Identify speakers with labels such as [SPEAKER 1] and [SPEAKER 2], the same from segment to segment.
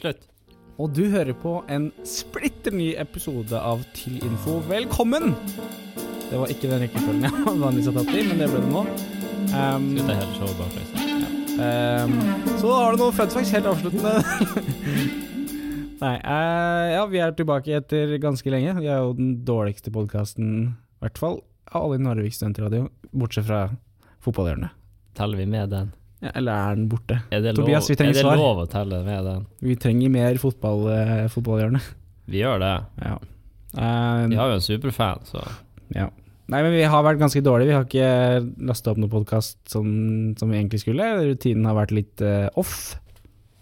[SPEAKER 1] Slutt.
[SPEAKER 2] Og du hører på en splitter ny episode av Til info. Velkommen! Det var ikke den rekkefølgen jeg vanligvis har tatt i, men det ble det nå. Um,
[SPEAKER 1] Slutt hele showet baklengs.
[SPEAKER 2] um, så har du noen fun facts helt avsluttende. Nei, eh, ja, vi er tilbake etter ganske lenge. Vi er jo den dårligste podkasten, i hvert fall av alle i Narvik studentradio, bortsett fra fotballhjørnet.
[SPEAKER 1] Teller vi med den?
[SPEAKER 2] Ja, eller er den borte?
[SPEAKER 1] Er det
[SPEAKER 2] Tobias, vi
[SPEAKER 1] lov,
[SPEAKER 2] trenger
[SPEAKER 1] er det
[SPEAKER 2] svar.
[SPEAKER 1] lov å telle med den?
[SPEAKER 2] Vi trenger mer fotball, eh, fotballhjørnet.
[SPEAKER 1] Vi gjør det.
[SPEAKER 2] Ja. Um,
[SPEAKER 1] Vi har jo en superfan, så
[SPEAKER 2] Ja. Nei, men vi har vært ganske dårlige. Vi har ikke lasta opp noen podkast som, som vi egentlig skulle. Rutinen har vært litt eh, off,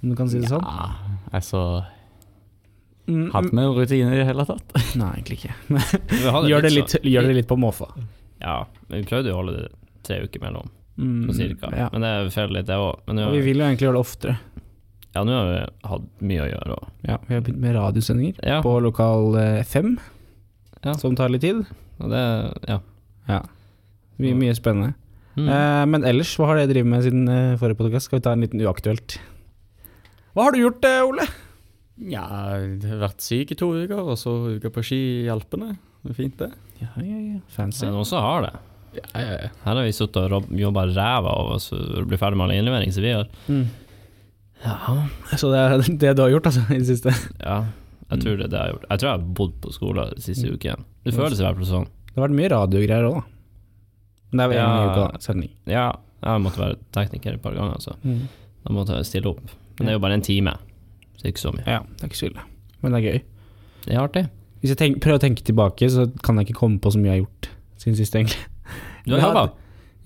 [SPEAKER 2] om du kan si det sånn.
[SPEAKER 3] Ja, altså
[SPEAKER 2] Mm,
[SPEAKER 3] Hadde vi noen rutiner i det hele tatt?
[SPEAKER 2] mm, Nei, egentlig ikke.
[SPEAKER 1] Vi hadde
[SPEAKER 2] Gjør det
[SPEAKER 1] sånn-
[SPEAKER 2] litt, gjør det litt på måfå.
[SPEAKER 1] Ja, men vi prøvde jo å holde det tre uker mellom,
[SPEAKER 2] Mm,
[SPEAKER 1] på cirka.
[SPEAKER 2] Ja.
[SPEAKER 1] Men det feiler litt, det òg. Men nå
[SPEAKER 2] Og vi vil jo egentlig gjøre det oftere.
[SPEAKER 1] ja, nå har vi hatt mye å gjøre òg.
[SPEAKER 2] Ja, vi har begynt med radiosendinger
[SPEAKER 1] Ja,
[SPEAKER 2] på lokal eh, FM,
[SPEAKER 1] Ja.
[SPEAKER 2] som tar litt tid.
[SPEAKER 1] og det Ja.
[SPEAKER 2] Mye, mye spennende.
[SPEAKER 1] Mm.
[SPEAKER 2] Eh, men ellers, hva har dere drevet med siden eh, forrige podkast? Skal vi ta en liten uaktuelt? Hva har du gjort, eh, Ole?
[SPEAKER 3] Ja, jeg har vært syk i to uker, og så uker på ski i Alpene. Det er fint, det.
[SPEAKER 2] Ja, ja, ja. Fancy.
[SPEAKER 1] Men noen som har det.
[SPEAKER 3] Ja, ja, ja.
[SPEAKER 1] Her har vi sittet og rob- jobba ræva av oss og blir ferdig med all innlevering som vi gjør.
[SPEAKER 2] Mm.
[SPEAKER 1] Ja.
[SPEAKER 2] Så det er det du har gjort, altså, i det siste?
[SPEAKER 1] ja. Jeg
[SPEAKER 2] Mm.
[SPEAKER 1] tror det er det jeg har gjort. Jeg tror jeg har bodd på skolen de siste ukene. Det føles i hvert fall sånn.
[SPEAKER 2] Det har vært mye radiogreier òg, da. Men det er jo
[SPEAKER 1] Ja.
[SPEAKER 2] en uke da, sending.
[SPEAKER 1] Ja, jeg har måttet være tekniker et par ganger, så da måtte jeg stille opp. Men det er jo bare en time, så det er ikke så mye.
[SPEAKER 2] Ja, det er ikke så ille. Men det er gøy.
[SPEAKER 1] Det er artig.
[SPEAKER 2] Hvis jeg tenk, prøver å tenke tilbake, så kan jeg ikke komme på så mye jeg har gjort siden sist, egentlig.
[SPEAKER 1] Du har
[SPEAKER 2] Ja,
[SPEAKER 1] jobba.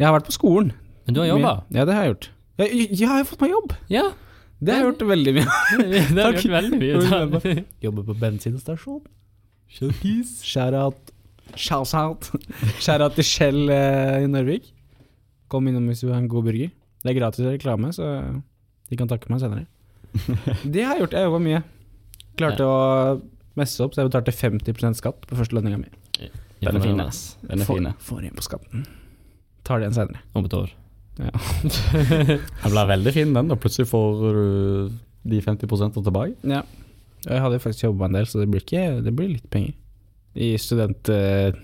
[SPEAKER 2] Jeg har vært på skolen.
[SPEAKER 1] Men du har jobba.
[SPEAKER 2] Mye. Ja, det har jeg gjort. Ja, ja, jeg har fått meg jobb!
[SPEAKER 1] Ja.
[SPEAKER 2] Det har jeg gjort veldig mye.
[SPEAKER 1] Det har
[SPEAKER 2] Takk.
[SPEAKER 1] gjort veldig mye. ut av.
[SPEAKER 2] Jobber på bensinstasjon. Shout-out. Shout-out. Shout-out til Shell eh, i Narvik. Kom innom hvis du vil ha en god burger. Det er gratis reklame, så de kan takke meg senere. Det har jeg gjort. Jeg jobba mye. Klarte å messe opp, så jeg betalte 50 skatt på første lønninga mi.
[SPEAKER 3] Den er fin,
[SPEAKER 1] Imponerende.
[SPEAKER 3] ass. Den er
[SPEAKER 2] Får-
[SPEAKER 3] fine.
[SPEAKER 2] Får igjen på skatten. Tar det igjen senere.
[SPEAKER 1] Om et år.
[SPEAKER 3] Den ble veldig fin, den. da. Plutselig får du de 50 tilbake.
[SPEAKER 2] Ja. Og Jeg hadde jo faktisk jobba en del, så det blir, ikke, det blir litt penger. I studentsammenheng.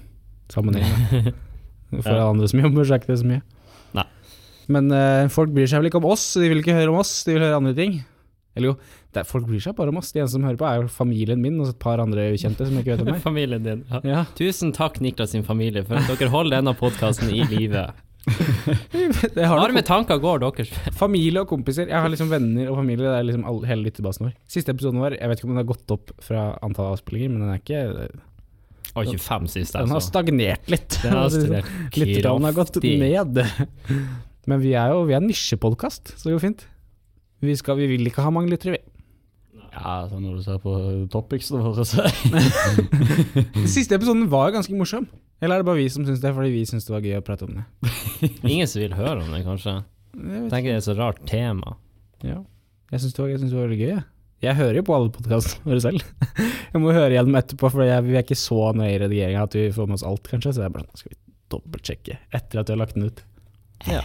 [SPEAKER 2] For alle andre som jobber, så er ikke det så mye.
[SPEAKER 1] Nei.
[SPEAKER 2] Men eh, folk bryr seg vel ikke om oss, de vil ikke høre om oss, de vil høre andre ting. Eller jo, det er, folk bryr seg bare om oss. De eneste som hører på, er jo familien min og så et par andre ukjente som ikke vet om meg.
[SPEAKER 1] Familien din. Ja.
[SPEAKER 2] Ja,
[SPEAKER 1] Tusen takk, Niklas sin familie, for at dere holder denne podkasten i live.
[SPEAKER 2] jeg har
[SPEAKER 1] Arme
[SPEAKER 2] noen
[SPEAKER 1] tanker går deres.
[SPEAKER 2] Familie og kompiser. Jeg har liksom venner og familie. Det er liksom all, hele lyttebasen vår. Siste episoden vår, jeg vet ikke om den har gått opp fra antall avspillinger, men den er ikke
[SPEAKER 1] Å, 25 sist,
[SPEAKER 2] Den har
[SPEAKER 1] altså.
[SPEAKER 2] stagnert litt.
[SPEAKER 1] Den har studert
[SPEAKER 2] Lytterne har gått
[SPEAKER 1] kraftig.
[SPEAKER 2] ned. Men vi er jo vi er en nisjepodkast, så det går fint. Vi, skal, vi vil ikke ha mange lyttere, vi.
[SPEAKER 3] Ja,
[SPEAKER 2] altså,
[SPEAKER 3] så når du ser på topicsene våre, så
[SPEAKER 2] Den siste episoden var jo ganske morsom. Eller er det bare vi som syns det, fordi vi syns det var gøy å prate om det?
[SPEAKER 1] Ingen som vil høre om det, kanskje.
[SPEAKER 2] Jeg, vet
[SPEAKER 1] Tenker det er et så rart tema.
[SPEAKER 2] ikke. ja. jeg syns det, var- jeg synes det var veldig gøy. jeg. Jeg hører jo på alle podkastene våre selv. Jeg må høre gjennom etterpå, for jeg, vi er ikke så nøye i redigeringa at vi får med oss alt, kanskje. Så det er bare sånn, skal vi dobbeltsjekke etter at vi har lagt den ut.
[SPEAKER 1] Ja.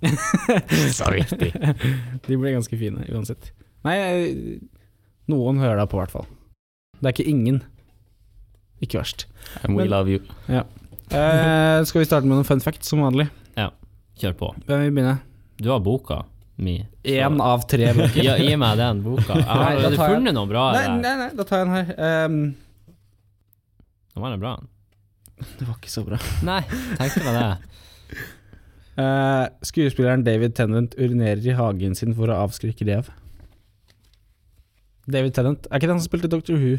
[SPEAKER 3] Så viktig.
[SPEAKER 2] De blir ganske fine uansett. Nei, jeg- noen hører deg på, i hvert fall. Det er ikke ingen. Ikke verst.
[SPEAKER 3] And we
[SPEAKER 2] Men-
[SPEAKER 3] love you.
[SPEAKER 2] Eh, skal vi starte med noen fun facts, som vanlig?
[SPEAKER 1] Kjør på.
[SPEAKER 2] Hvem vil begynne?
[SPEAKER 1] Du har boka mi.
[SPEAKER 2] Én av tre. bøker.
[SPEAKER 1] Ja, gi meg den boka. Jeg har
[SPEAKER 2] Nei, da
[SPEAKER 1] allerede
[SPEAKER 2] tar jeg-
[SPEAKER 1] funnet noe bra
[SPEAKER 2] Nei,
[SPEAKER 1] der.
[SPEAKER 2] nei, nei, da tar jeg en her. Ehm,
[SPEAKER 1] Den var bra.
[SPEAKER 2] det var ikke så bra.
[SPEAKER 1] Nei, tenkte meg det.
[SPEAKER 2] Eh, skuespilleren David Tennant urinerer i hagen sin for å avskrekke rev. David Tennant, er ikke det han som spilte Dr. Who?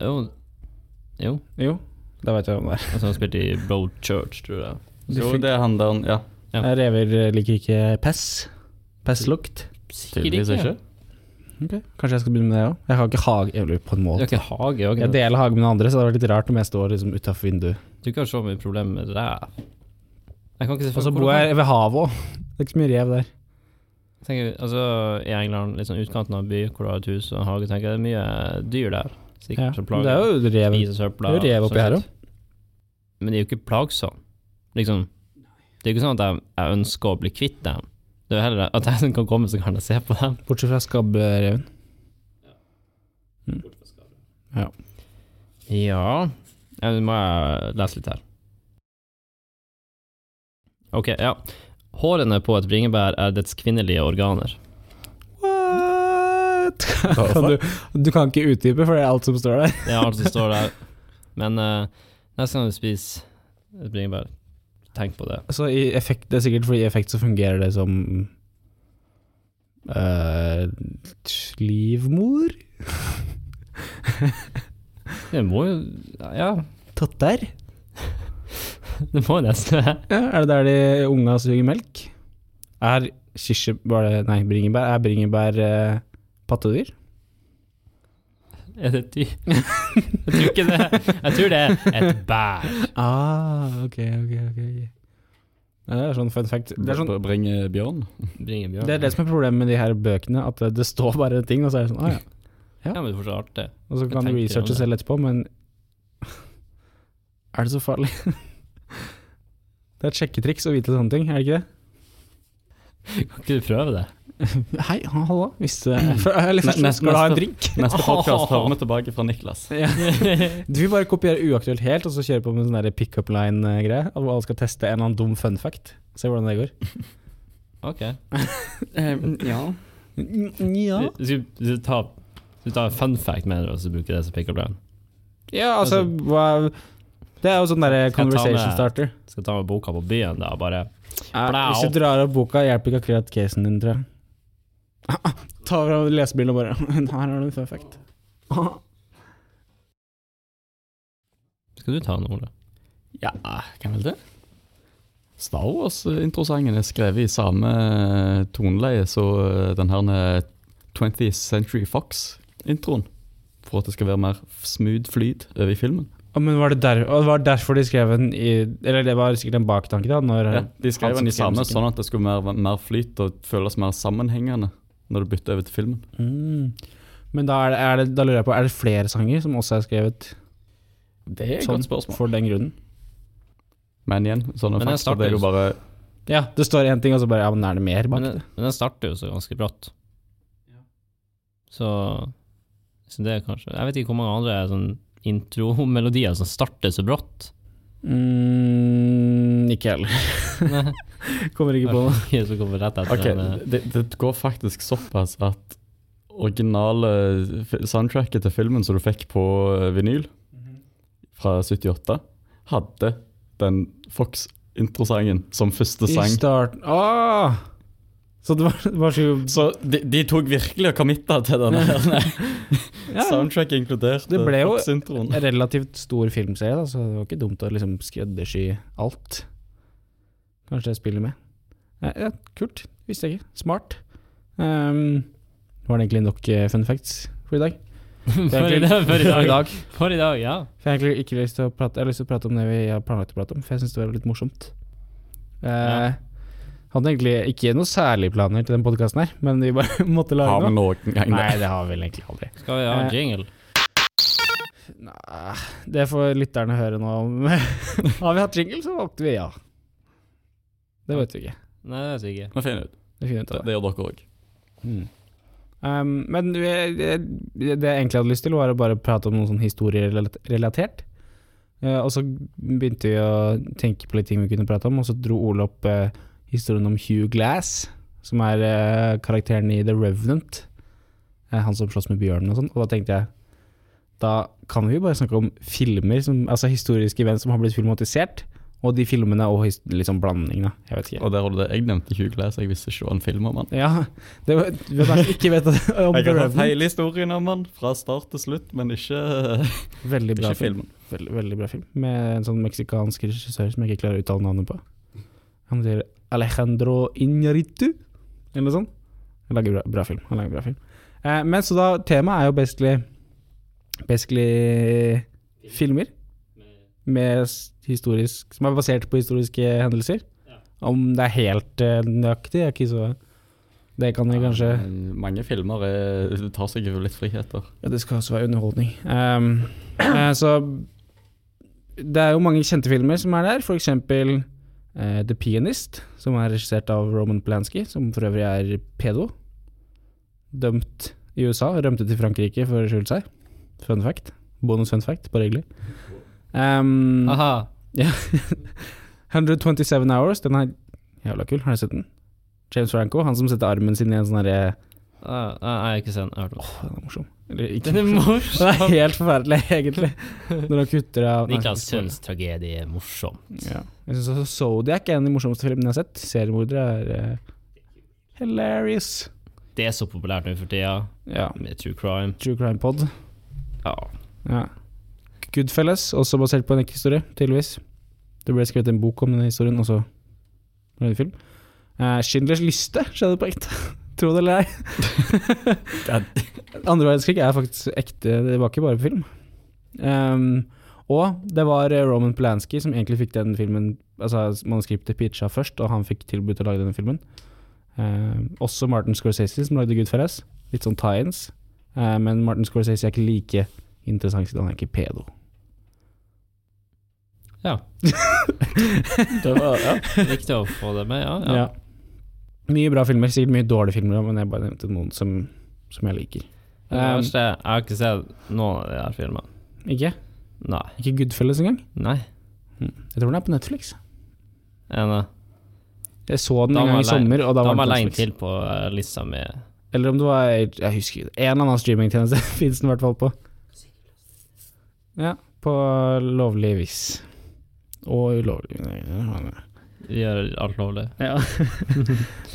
[SPEAKER 1] Jo, jo.
[SPEAKER 2] Jo, da vet jeg hvem det er.
[SPEAKER 1] Altså, han spilte i Broad Church, tror jeg.
[SPEAKER 3] Jo, det er han der Ja.
[SPEAKER 1] Ja.
[SPEAKER 2] Eh, Rever liker ikke pess. Pesslukt.
[SPEAKER 3] Tydeligvis ikke.
[SPEAKER 2] Kanskje jeg skal begynne med det òg. Jeg har ikke hage jeg lurer på en
[SPEAKER 1] Du
[SPEAKER 2] måte.
[SPEAKER 1] har ikke hage òg?
[SPEAKER 2] Jeg deler hage med noen andre, så det hadde vært litt rart om jeg står liksom utafor vinduet.
[SPEAKER 1] Du kan se mye problem med ræv. Jeg kan ikke se
[SPEAKER 2] Og så
[SPEAKER 1] hvordan-
[SPEAKER 2] bor jeg ved havet òg. Det er ikke så mye rev der.
[SPEAKER 1] tenker, altså, I England, litt sånn utkanten av by, hvor du har et hus og en hage, tenker jeg det er mye dyr der. Sikkert
[SPEAKER 2] Ja.
[SPEAKER 1] som
[SPEAKER 2] Men Det er
[SPEAKER 1] plager.
[SPEAKER 2] jo rev.
[SPEAKER 1] Spiser søpla.
[SPEAKER 2] det er jo rev oppi
[SPEAKER 1] sånn
[SPEAKER 2] her
[SPEAKER 1] sett. Men de er jo ikke plagsomme. Liksom, det er jo ikke sånn at jeg, jeg ønsker å bli kvitt dem. Det er jo heller at jeg kan komme, så kan jeg se på dem.
[SPEAKER 2] Bortsett fra skabbreven. Ja.
[SPEAKER 1] Ja Ja, Nå må jeg lese litt her. Ok, ja. Hårene på et bringebær er dets kvinnelige organer.
[SPEAKER 2] What? Kan du, du kan ikke utdype, for det er alt som står der.
[SPEAKER 1] Det er alt som står der. Men eh, neste gang du spiser et bringebær, tenk på det.
[SPEAKER 2] Så i effekt, det er sikkert fordi i effekt så fungerer det som eh, Livmor?
[SPEAKER 1] Det må jo Ja,
[SPEAKER 2] Tatter?
[SPEAKER 1] det må jo nesten være.
[SPEAKER 2] Ja, er det der de unga suger melk? Er kirsebær Nei, bringebær. Er bringebær eh, pattedyr?
[SPEAKER 1] Er det et dyr? Jeg tror ikke det. Jeg tror det er et bær.
[SPEAKER 2] Ah, ok, ok, ok. Ja, det er sånn fun fact. Det er, sånn,
[SPEAKER 3] Bringe bjørn.
[SPEAKER 1] Bringebjørn.
[SPEAKER 2] det er det som er problemet med de her bøkene, at det, det står bare ting, og så er det sånn, ah, ja.
[SPEAKER 1] Ja, men det er fortsatt artig.
[SPEAKER 2] Og så
[SPEAKER 1] Jeg
[SPEAKER 2] kan
[SPEAKER 1] tenker
[SPEAKER 2] du
[SPEAKER 1] om
[SPEAKER 2] researche
[SPEAKER 1] det.
[SPEAKER 2] selv etterpå, men Er det så farlig? det er et sjekketriks å vite sånne ting, er det ikke det?
[SPEAKER 1] Kan ikke du prøve det?
[SPEAKER 2] Hei, ha- hallo. Hvis eh, for, jeg er litt
[SPEAKER 3] Ne-
[SPEAKER 2] forstått,
[SPEAKER 3] neste-
[SPEAKER 2] Skal du ha en
[SPEAKER 3] neste-
[SPEAKER 2] drink?
[SPEAKER 3] Neste podcast hører vi tilbake fra Niklas.
[SPEAKER 2] Ja. Du vil bare kopiere uaktuelt helt, og så kjøre på med sånn der pickup line-greie. Hvor alle skal teste en eller annen dum fun fact. Se hvordan det går.
[SPEAKER 1] Ok.
[SPEAKER 3] ja.
[SPEAKER 2] Ja,
[SPEAKER 1] Du, du, du, tar, du tar en fun fact med deg, og så bruker du det som pick-up line.
[SPEAKER 2] ja altså hva, Det er jo sånn derre
[SPEAKER 1] Skal jeg ta
[SPEAKER 2] conversation
[SPEAKER 1] med-
[SPEAKER 2] starter.
[SPEAKER 1] Skal ta med boka på byen, da, og bare Blau.
[SPEAKER 2] Hvis du drar opp boka, hjelper ikke akkurat casen din, tror jeg. Ta fram lesebilen og bare Her har du en fun fact.
[SPEAKER 1] Skal du ta den, Ole?
[SPEAKER 3] Ja, hvem vil det? Star Wars-introsangen er skrevet i samme eh, toneleie som eh, den her 20th Century Fox-introen. For at det skal være mer smooth flyt over i filmen.
[SPEAKER 2] Å, men var det, der, å, det var derfor de skrev den i Eller det var sikkert en baktanke, da. Når,
[SPEAKER 3] Ja, de skrev
[SPEAKER 2] han som
[SPEAKER 3] den i
[SPEAKER 2] skrev
[SPEAKER 3] samme,
[SPEAKER 2] musikken.
[SPEAKER 3] sånn at det skulle være mer flyt og føles mer sammenhengende når du bytter over til filmen.
[SPEAKER 2] mm. Men da, er det, er det, da lurer jeg på, er det flere sanger som også er skrevet
[SPEAKER 3] Det er
[SPEAKER 2] sånn for den grunnen?
[SPEAKER 3] Men igjen, sånne
[SPEAKER 1] Men den
[SPEAKER 3] fakta, det er jo bare
[SPEAKER 2] Ja, det står én ting, og så bare Ja, men er det mer bak
[SPEAKER 1] Men,
[SPEAKER 2] det?
[SPEAKER 1] den- men den starter jo så ganske brått. Så, så det er kanskje Jeg vet ikke hvor mange andre sånn intromelodier som starter så brått.
[SPEAKER 2] Mm, ikke heller.
[SPEAKER 1] Nei.
[SPEAKER 2] Kommer ikke på noe.
[SPEAKER 1] som kommer rett etter
[SPEAKER 3] Ok,
[SPEAKER 1] den. eh.
[SPEAKER 3] det, det går faktisk såpass at originale f- soundtracket til filmen som du fikk på eh, vinyl fra 78, hadde den Fox-introsangen som første
[SPEAKER 2] I
[SPEAKER 3] sang.
[SPEAKER 2] starten Åh! Så det var, det var så
[SPEAKER 3] Så de, de tok virkelig og committa til denne her.
[SPEAKER 2] ja,
[SPEAKER 3] Soundtrack inkludert eh,
[SPEAKER 2] Det ble jo-
[SPEAKER 3] Fox-introen.
[SPEAKER 2] en Relativt stor filmserie, da, så det var ikke dumt å liksom skreddersy alt. Kanskje jeg spiller med. Ja, ja, kult. Visste jeg ikke. Smart. Ehm, var det egentlig nok eh, fun facts for i dag?
[SPEAKER 1] For i dag, for i dag.
[SPEAKER 2] dag.
[SPEAKER 1] For i dag, ja.
[SPEAKER 2] For jeg har egentlig ikke lyst til å prate Jeg har lyst til å prate om det vi har planlagt å prate om, for jeg syns det var litt morsomt. Eh, Hadde egentlig ikke noe særlige planer til den podkasten her, men vi bare måtte lage
[SPEAKER 3] Har vi
[SPEAKER 2] noe.
[SPEAKER 3] noen gang
[SPEAKER 2] Nei, det har vi vel egentlig aldri.
[SPEAKER 1] Skal vi ha en
[SPEAKER 2] Eh.
[SPEAKER 1] jingle?
[SPEAKER 2] Nei, det får lytterne høre nå. om- har vi hatt jingle, så valgte vi ja. Det vet vi ikke.
[SPEAKER 1] Nei, det vet jeg ikke.
[SPEAKER 3] Vi finner ut.
[SPEAKER 2] Det finner vi ut
[SPEAKER 3] Det,
[SPEAKER 2] av.
[SPEAKER 3] det gjør dere òg.
[SPEAKER 2] Mm. Um, men vi- det det jeg egentlig hadde lyst til, var å bare prate om noe sånn historierelatert. Eh, og så begynte vi å tenke på litt ting vi kunne prate om, og så dro Ole opp eh, historien om Hugh Glass, som er eh, karakteren i The Revenant. Eh, han som slåss med bjørnen og sånn. Og da tenkte jeg da kan vi jo bare snakke om filmer, som, altså historiske event som har blitt filmatisert, og de filmene og his- liksom blandingene. Jeg vet ikke.
[SPEAKER 3] Og der har du det. Jeg nevnte Hugh Glass, jeg visste ikke det var en film om han.
[SPEAKER 2] Ja, det var, vi kanskje ikke vet om
[SPEAKER 3] Jeg
[SPEAKER 2] The
[SPEAKER 3] har hatt
[SPEAKER 2] Revenant.
[SPEAKER 3] hele historien om han, fra start til slutt, men ikke,
[SPEAKER 2] Veldig bra
[SPEAKER 3] ikke
[SPEAKER 2] film.
[SPEAKER 3] filmen.
[SPEAKER 2] Veldig, veldig bra film. Med en sånn meksikansk regissør som jeg ikke klarer å uttale navnet på. Han heter Alejandro Iñárritu, eller noe sånt. Han lager bra, bra film. Han lager bra film. Eh, men så da, temaet er jo basically, basically filmer med s- historisk, som er basert på historiske hendelser. Om det er helt eh, nøyaktig, er ikke så Det kan jeg kanskje
[SPEAKER 3] Ja, men Mange filmer er, tar seg jo litt friheter.
[SPEAKER 2] ja, det skal også være underholdning. Ehm, eh, så det er jo mange kjente filmer som er der, f.eks. Uh, The Pianist, som er regissert av Roman Polanski, som for øvrig er pedo. Dømt i USA, rømte til Frankrike for å skjule seg. Fun fact. Bonus fun fact, bare hyggelig. Um,
[SPEAKER 1] Aha.
[SPEAKER 2] 127 Hours, den er jævla kul. Har du sett den? James Franco, han som setter armen sin i en sånn herre
[SPEAKER 1] Ah, ah, nei, ikke sen. Jeg har hørt om det.
[SPEAKER 2] Den er morsom. Eller ikke
[SPEAKER 1] Den er
[SPEAKER 2] morsom. Den er
[SPEAKER 1] morsom.
[SPEAKER 2] helt forferdelig, egentlig. Når han kutter av
[SPEAKER 1] Niklas
[SPEAKER 2] Nei,
[SPEAKER 1] Sølvs tragedie er morsom.
[SPEAKER 2] Ja. Jeg synes også Zodiac er en av de morsomste filmene jeg har sett. Seriemordere er eh, hilarious.
[SPEAKER 1] Det er så populært nå for tida,
[SPEAKER 2] Ja.
[SPEAKER 1] med true crime.
[SPEAKER 2] True Crime Pod.
[SPEAKER 1] Ja.
[SPEAKER 2] Ja. Goodfelles, også basert på en ekte historie, tydeligvis. Det ble skrevet en bok om denne historien, og så ble det en film. Eh, Schindlers liste skjedde på ekte. Tro det eller ei. Andre verdenskrig er faktisk ekte, det var ikke bare på film. Ehm, og det var eh, Roman Polanski som egentlig fikk den filmen Altså manuskriptet pitcha først, og han fikk tilbud til å lage denne filmen. Ehm, også Martin Scorsese som lagde Goodfellas. Litt sånn tie-ins. Eh, men Martin Scorsese er ikke like interessant siden han er ikke pedo.
[SPEAKER 1] Ja.
[SPEAKER 3] Det var, ja.
[SPEAKER 1] Viktig å få det med, ja. ja.
[SPEAKER 2] Ja. Mye bra filmer, sikkert mye dårlige filmer, også, men jeg bare nevnte noen som, som jeg liker. Eh,
[SPEAKER 1] Men Det
[SPEAKER 2] um,
[SPEAKER 1] verste, jeg har ikke sett noen av de her filmene.
[SPEAKER 2] Ikke?
[SPEAKER 1] Nei.
[SPEAKER 2] Ikke Goodfellas engang?
[SPEAKER 1] Nei.
[SPEAKER 2] Jeg tror den er på Netflix.
[SPEAKER 1] En, eh,
[SPEAKER 2] Jeg så den
[SPEAKER 1] Da
[SPEAKER 2] en
[SPEAKER 1] må
[SPEAKER 2] gang i
[SPEAKER 1] jeg legge-
[SPEAKER 2] sommer, og da
[SPEAKER 1] da må
[SPEAKER 2] var den
[SPEAKER 1] jeg
[SPEAKER 2] på
[SPEAKER 1] legge
[SPEAKER 2] Netflix.
[SPEAKER 1] til på eh, lista mi.
[SPEAKER 2] Eller om det var Jeg husker En eller annen streamingtjeneste finnes den i hvert fall på. Ja, på lovlig vis. Og ulovlig Nei, ja.
[SPEAKER 1] Vi gjør alt lovlig.
[SPEAKER 2] Ja.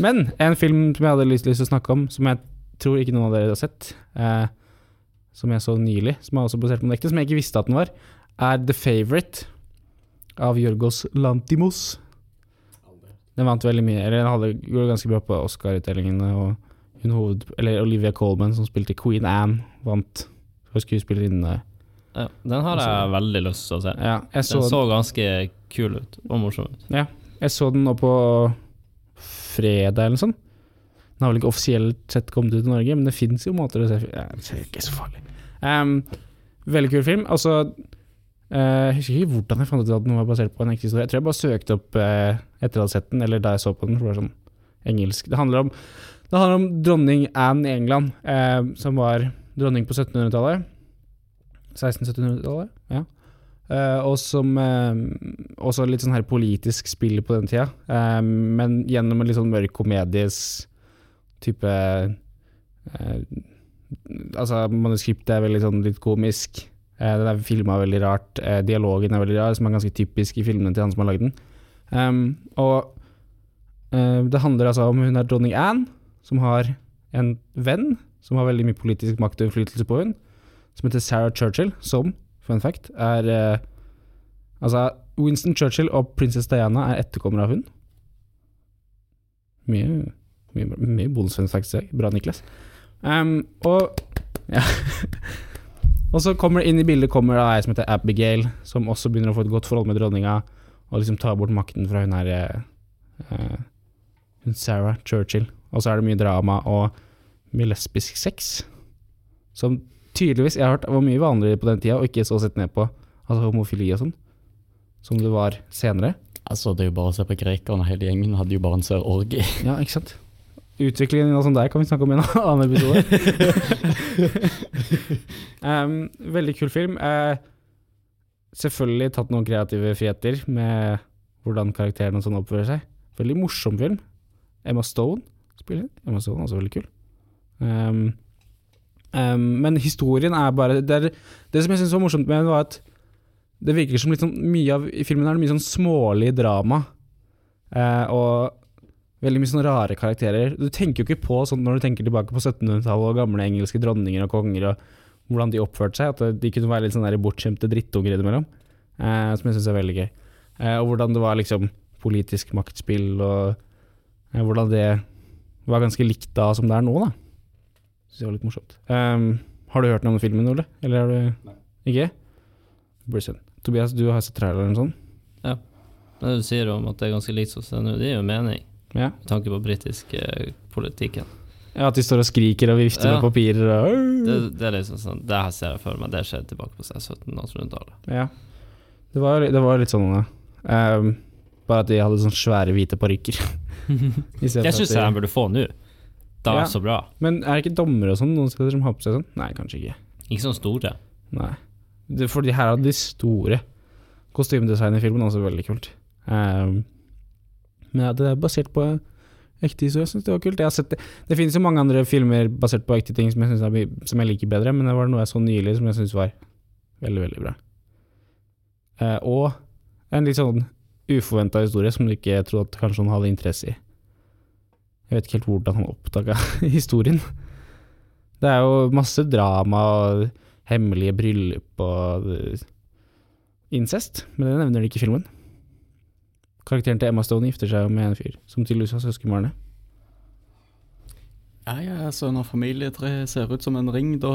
[SPEAKER 2] Men en film som jeg hadde lyst, lyst til å snakke om, som jeg tror ikke noen av dere har sett, eh, som jeg så nylig, som er også basert på en ekte, som jeg ikke visste at den var, er The Favourite av Jorgos Lantimos. Den vant veldig mye, eller den hadde gjorde ganske bra på Oscar-utdelingene, og hun hoved, eller Olivia Colman, som spilte Queen Anne, vant for skuespillerinne.
[SPEAKER 1] Ja, den har jeg veldig lyst til å se.
[SPEAKER 2] Ja, jeg så
[SPEAKER 1] Den så ganske kul ut, og morsom ut.
[SPEAKER 2] Jeg så den nå på fredag eller noe sånt. Den har vel ikke offisielt sett kommet ut i Norge, men det fins jo måter å se film Nei, Det er ikke så farlig. Ehm, veldig kul film. Altså eh, Jeg husker ikke hvordan jeg fant ut at den var basert på en ekte historie. Jeg tror jeg bare søkte opp eh, etter å ha sett den, eller da jeg så på den. For det var sånn engelsk. Det handler om, det handler om dronning Anne i England, eh, som var dronning på 1700-tallet. 1600-1700-tallet, ja. Eh, og som eh, også litt sånn her politisk spill på den tida, eh, men gjennom en litt sånn mørk komedies type eh, Altså, manuskriptet er veldig sånn litt komisk. Eh, den er filma veldig rart. Eh, dialogen er veldig rar, som er ganske typisk i filmene til han som har lagd den. Ehm, og eh, det handler altså om hun er dronning Anne, som har en venn som har veldig mye politisk makt og innflytelse på hun, som heter Sarah Churchill, som fun fact, er eh, Altså, Winston Churchill og prinsesse Diana er etterkommere av hun. Mye, mye, mye bonusfun facts i dag. Bra, Niklas. Ehm, og ja. Og så kommer det inn i bildet kommer da ei som heter Abigail, som også begynner å få et godt forhold med dronninga, og liksom tar bort makten fra hun her eh, eh, Hun Sarah Churchill. Og så er det mye drama og mye lesbisk sex, som tydeligvis jeg har hørt var mye vanligere på den tida, og ikke så sett ned på. Altså homofili og sånn. Som det var senere.
[SPEAKER 3] Altså, det er jo bare å se på grekerne. Hele gjengen hadde jo bare en svær orgie.
[SPEAKER 2] Ja, ikke sant? Utviklingen av sånn der kan vi snakke om i en annen episode. um, veldig kul film. Eh, selvfølgelig tatt noen kreative friheter med hvordan karakterene og sånn oppfører seg. Veldig morsom film. Emma Stone spiller Emma Stone er også veldig kul. Um, um, men historien er bare Det, er, det som jeg syns var morsomt med den, var at det virker som litt sånn mye av I filmen er det mye sånn smålig drama. Eh, og Veldig mye sånne rare karakterer. Du tenker jo ikke på sånn når du tenker tilbake på 1700-tallet og gamle engelske dronninger og konger og hvordan de oppførte seg, at de kunne være litt sånn der bortskjemte drittunger innimellom. Eh, som jeg syns er veldig gøy. Eh, og hvordan det var liksom politisk maktspill og eh, hvordan det var ganske likt da som det er nå, da. Syns jeg var litt morsomt. Ehm, har du hørt noe om filmen, Ole? Eller har du Ikke? Brisson. Tobias, du har sett traileren sånn?
[SPEAKER 1] Det du sier om at det er ganske likt som det er nå, det gir jo mening,
[SPEAKER 2] Ja.
[SPEAKER 1] med tanke på britisk eh, politikken.
[SPEAKER 2] ja, at de står og skriker og vifter
[SPEAKER 1] Ja.
[SPEAKER 2] med papirer og
[SPEAKER 1] Det, det er liksom sånn, det her ser jeg for meg, det skjedde tilbake på 1700-tallet.
[SPEAKER 2] Ja. Det var, det var litt sånn eh, um, Bare at de hadde sånne svære hvite parykker. I
[SPEAKER 1] Det
[SPEAKER 2] stedet for at
[SPEAKER 1] syns
[SPEAKER 2] de-
[SPEAKER 1] jeg de burde få nå. Det
[SPEAKER 2] Ja.
[SPEAKER 1] er så bra.
[SPEAKER 2] Men er det ikke dommere og sånn noen steder som har på seg sånn? Nei, kanskje ikke.
[SPEAKER 1] Ikke sånn store.
[SPEAKER 2] Nei. Det, for de her hadde de store kostymedesign i filmen, også veldig kult. Ehm, men ja, det er basert på ekte historie, jeg syns det var kult. Jeg har sett det. det finnes jo mange andre filmer basert på ekte ting som jeg, synes er, my- som jeg liker bedre, men det var noe jeg så nylig som jeg syns var veldig, veldig bra. Eh, og en litt sånn uforventa historie som du ikke trodde at kanskje han hadde interesse i. Jeg vet ikke helt hvordan han oppdaga historien. Det er jo masse drama og hemmelige bryllup og eh, incest, men det nevner de ikke i filmen. Karakteren til Emma Stone gifter seg jo med en fyr som tydeligvis har søskenbarnet.
[SPEAKER 3] Ja, ja, altså når familietreet ser ut som en ring, da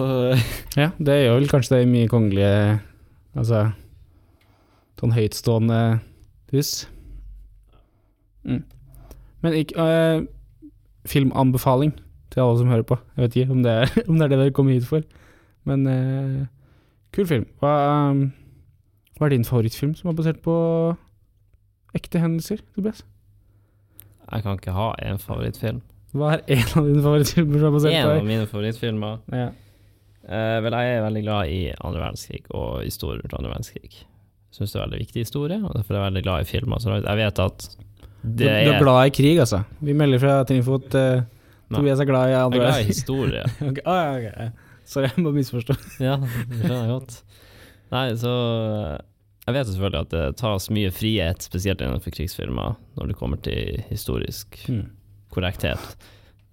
[SPEAKER 2] Ja, det gjør vel kanskje det i mye kongelige Altså sånn høytstående hus. Mm. Men ikke eh, Filmanbefaling til alle som hører på. Jeg vet ikke om det er, om det, er det dere kommer hit for. Men eh, kul film. Hva, eh, hva er din favorittfilm som er basert på ekte hendelser, Tobias?
[SPEAKER 1] Jeg kan ikke ha en favorittfilm.
[SPEAKER 2] Hva er en av dine favorittfilmer som er basert
[SPEAKER 1] En
[SPEAKER 2] på
[SPEAKER 1] av mine favorittfilmer
[SPEAKER 2] Ja.
[SPEAKER 1] Eh, vel, jeg er veldig glad i andre verdenskrig og historier fra andre verdenskrig. Jeg syns det er en veldig viktig historie, og derfor er jeg veldig glad i filmer. Så langt. jeg vet at
[SPEAKER 2] Du, du
[SPEAKER 1] det er,
[SPEAKER 2] er glad i krig, altså? Vi melder fra Trinfot. eh,
[SPEAKER 1] Nei.
[SPEAKER 2] Tobias er glad i
[SPEAKER 1] jeg er
[SPEAKER 2] andre
[SPEAKER 1] glad i historie.
[SPEAKER 2] Ok, ah, ja, ok. Sorry, jeg må misforstå.
[SPEAKER 1] ja, det skjønner jeg godt. Nei, så eh, Jeg vet jo selvfølgelig at det tas mye frihet, spesielt innenfor krigsfilmer, når det kommer til historisk korrekthet.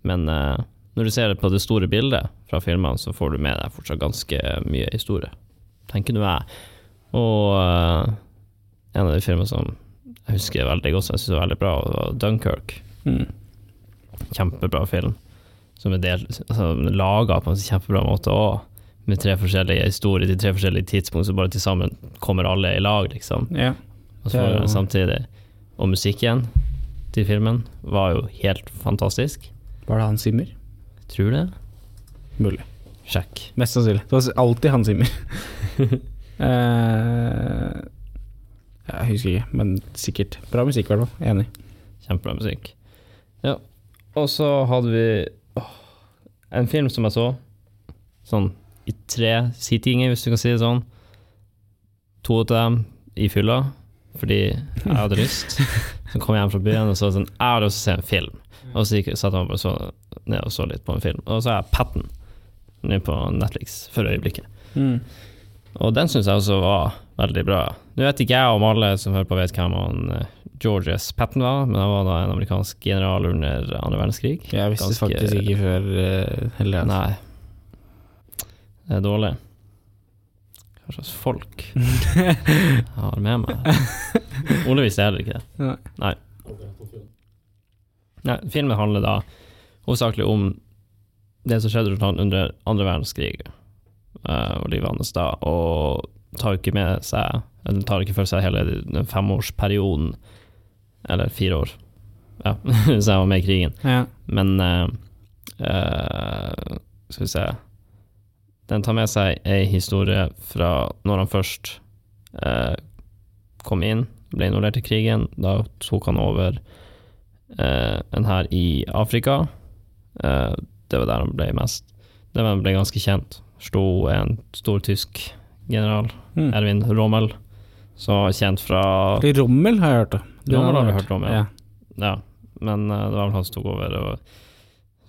[SPEAKER 1] Men eh, når du ser det på det store bildet fra filmene, så får du med deg fortsatt ganske mye historie, tenker nå jeg. Og eh, en av de filmene som jeg husker veldig godt, som jeg syns var veldig bra, var Dunkerque.
[SPEAKER 2] Hmm,
[SPEAKER 1] Kjempebra film. Som er del- altså, laga på en kjempebra måte òg, med tre forskjellige historier til tre forskjellige tidspunkt, så bare til sammen kommer alle i lag, liksom.
[SPEAKER 2] Ja.
[SPEAKER 1] Og så
[SPEAKER 2] Det er
[SPEAKER 1] var det
[SPEAKER 2] jo-
[SPEAKER 1] samtidig. Og musikken til filmen var jo helt fantastisk.
[SPEAKER 2] Var det Hans Zimmer?
[SPEAKER 1] Tror det.
[SPEAKER 2] Mulig.
[SPEAKER 1] Sjekk.
[SPEAKER 2] Mest sannsynlig. Det var alltid Hans Zimmer. Eh, jeg husker ikke, men sikkert. Bra musikk, i hvert fall. Enig.
[SPEAKER 1] Kjempebra musikk. Ja. Og så hadde vi åh, en film som jeg så, sånn i tre sittinger, hvis du kan si det sånn. To av dem i fylla, fordi jeg hadde lyst. Så kom jeg hjem fra byen og så sånn, jeg hadde lyst til å se en film. Og så gikk, satt jeg meg bare så ned og så litt på en film. Og så har jeg Patten nede på Netflix for øyeblikket.
[SPEAKER 2] Hmm.
[SPEAKER 1] Og den syns jeg også var veldig bra. Nå vet ikke jeg om alle som hører på vet hvem han eh, George S. Patton var, men han var da en amerikansk general under andre verdenskrig.
[SPEAKER 2] Jeg visste
[SPEAKER 1] Ganske-
[SPEAKER 2] faktisk ikke før eh, heller. altså.
[SPEAKER 1] Nei. Det er dårlig. Hva slags folk jeg har med meg? Ole visste heller ikke det.
[SPEAKER 2] Nei.
[SPEAKER 1] Nei. Nei. Filmen handler da hovedsakelig om det som skjedde rundt han under andre verdenskrig eh, og livet hans da, og tar ikke med seg eller tar ikke for seg hele den femårsperioden, eller fire år, ja, så jeg var med i krigen.
[SPEAKER 2] Ja.
[SPEAKER 1] Men eh, eh, Skal vi se Den tar med seg ei historie fra når han først eh, kom inn, ble involvert i krigen. Da tok han over eh, en hær i Afrika. Eh, det var der han ble mest Det var han ble ganske kjent. Sto en stor tysk general,
[SPEAKER 2] Mm.
[SPEAKER 1] Erwin Rommel, som var kjent fra
[SPEAKER 2] Rommel har jeg hørt om. Du
[SPEAKER 1] Rommel har vi hørt om, ja.
[SPEAKER 2] ja.
[SPEAKER 1] ja, men eh, det var vel han som tok over og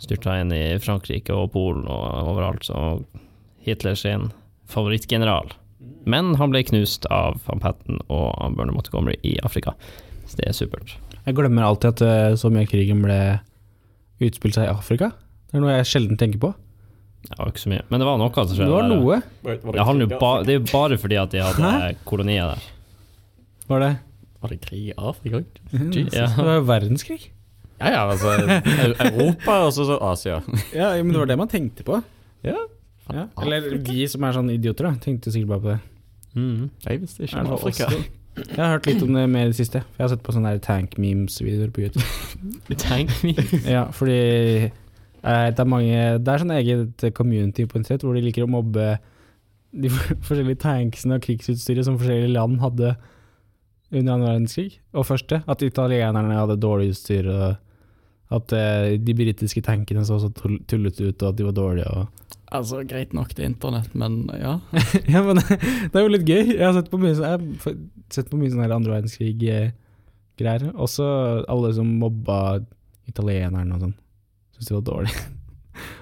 [SPEAKER 1] styrta inn i Frankrike og Polen og overalt, så Hitler sin favorittgeneral. Men han ble knust av van Patten og av Bernard Montgomery i Afrika, så det er supert.
[SPEAKER 2] Jeg glemmer alltid at eh, så mye av krigen ble utspilt seg i Afrika. Det er noe jeg sjelden tenker på.
[SPEAKER 1] Det var ikke så mye, men det var noe som
[SPEAKER 2] Det
[SPEAKER 1] skjedde.
[SPEAKER 2] var
[SPEAKER 1] der, ja.
[SPEAKER 2] noe.
[SPEAKER 1] Det, handler jo ba, det er jo bare fordi at de hadde
[SPEAKER 2] Hæ?
[SPEAKER 1] kolonier der.
[SPEAKER 2] Var det?
[SPEAKER 3] Var det krig i Afrika?
[SPEAKER 2] Jesus.
[SPEAKER 1] Ja.
[SPEAKER 2] Det var jo verdenskrig.
[SPEAKER 3] Ja, ja, altså Europa og så, så Asia.
[SPEAKER 2] Ja, men det var det man tenkte på.
[SPEAKER 3] Ja.
[SPEAKER 2] Ja. Eller vi som er sånn idioter, da. Tenkte sikkert bare på det. Mm.
[SPEAKER 3] Jeg visste ikke
[SPEAKER 2] Er det
[SPEAKER 3] om
[SPEAKER 2] for oss,
[SPEAKER 3] Afrika.
[SPEAKER 2] Jeg har hørt litt om det mer i det siste. For jeg har sett på sånne der tank memes-videoer på YouTube.
[SPEAKER 1] Tenk mye.
[SPEAKER 2] ja, fordi eh, det er mange Det er sånn eget community på internett hvor de liker å mobbe de for- forskjellige tanksene og krigsutstyret som forskjellige land hadde under annen verdenskrig. Og første, at italienerne hadde dårlig utstyr, og at eh, de britiske tankene så så tull- tullete ut, og at de var dårlige. Og
[SPEAKER 3] Altså, greit nok, det er internett, men ja.
[SPEAKER 2] ja, men det er jo litt gøy. Jeg har sett på mye, sånn- jeg har f- sett på mye sånne her andre verdenskrig-greier. Også alle som mobba italieneren og sånn. Syns det var dårlig.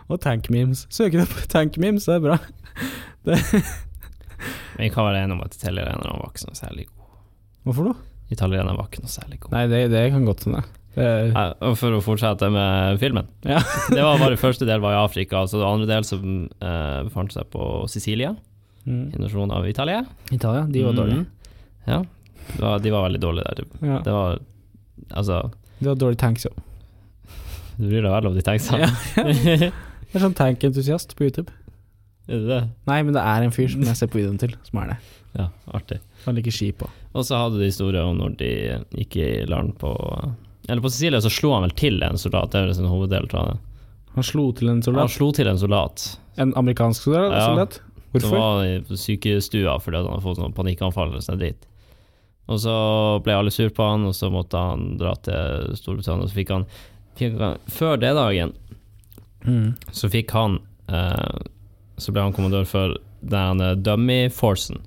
[SPEAKER 2] Og tankmemes. Søker opp tankmemes, det er bra.
[SPEAKER 1] Men jeg kan være enig om at italienerne var ikke så særlig gode.
[SPEAKER 2] Hvorfor da?
[SPEAKER 1] Italienerne var ikke noe særlig gode.
[SPEAKER 2] Nei, det, det kan godt hende. Det-
[SPEAKER 1] Nei, Eh, og For å fortsette med filmen.
[SPEAKER 2] Ja.
[SPEAKER 1] det var bare første del var i Afrika, så det andre del som eh, befant seg på Sicilia,
[SPEAKER 2] Mm.
[SPEAKER 1] invasjonen av Italia.
[SPEAKER 2] Italia, de var
[SPEAKER 1] Mhm.
[SPEAKER 2] dårlige.
[SPEAKER 1] Ja, det var, de var veldig dårlige der. Det-
[SPEAKER 2] Mm. Ja.
[SPEAKER 1] Det var Altså,
[SPEAKER 2] De var dårlige tanks òg.
[SPEAKER 1] du bryr deg vel om de
[SPEAKER 2] Ja.
[SPEAKER 1] tekstene? er
[SPEAKER 2] Jeg er sånn tankentusiast på YouTube.
[SPEAKER 1] det det?
[SPEAKER 2] Nei, men det er en fyr som jeg ser på videoen til, som er det.
[SPEAKER 1] Ja, artig.
[SPEAKER 2] Han liker skip òg.
[SPEAKER 1] Og så hadde de historier om når de gikk i land på Eller på Sicilia så slo han vel til en soldat, det er vel sin hoveddel. tror jeg.
[SPEAKER 2] Han slo til en
[SPEAKER 1] Han
[SPEAKER 2] soldat.
[SPEAKER 1] slo til en soldat
[SPEAKER 2] En amerikansk soldat?
[SPEAKER 1] Ja.
[SPEAKER 2] soldat.
[SPEAKER 1] som
[SPEAKER 2] Hvorfor?
[SPEAKER 1] var i sykestua fordi at han hadde fått sånn panikkanfall eller sånn dritt. Og så ble alle sur på han, og så måtte han dra til Storbritannia. Og så fikk han, fikk han Før det dagen
[SPEAKER 2] Mm.
[SPEAKER 1] så fikk han eh, Så ble han kommandør for den eh, dummy forcen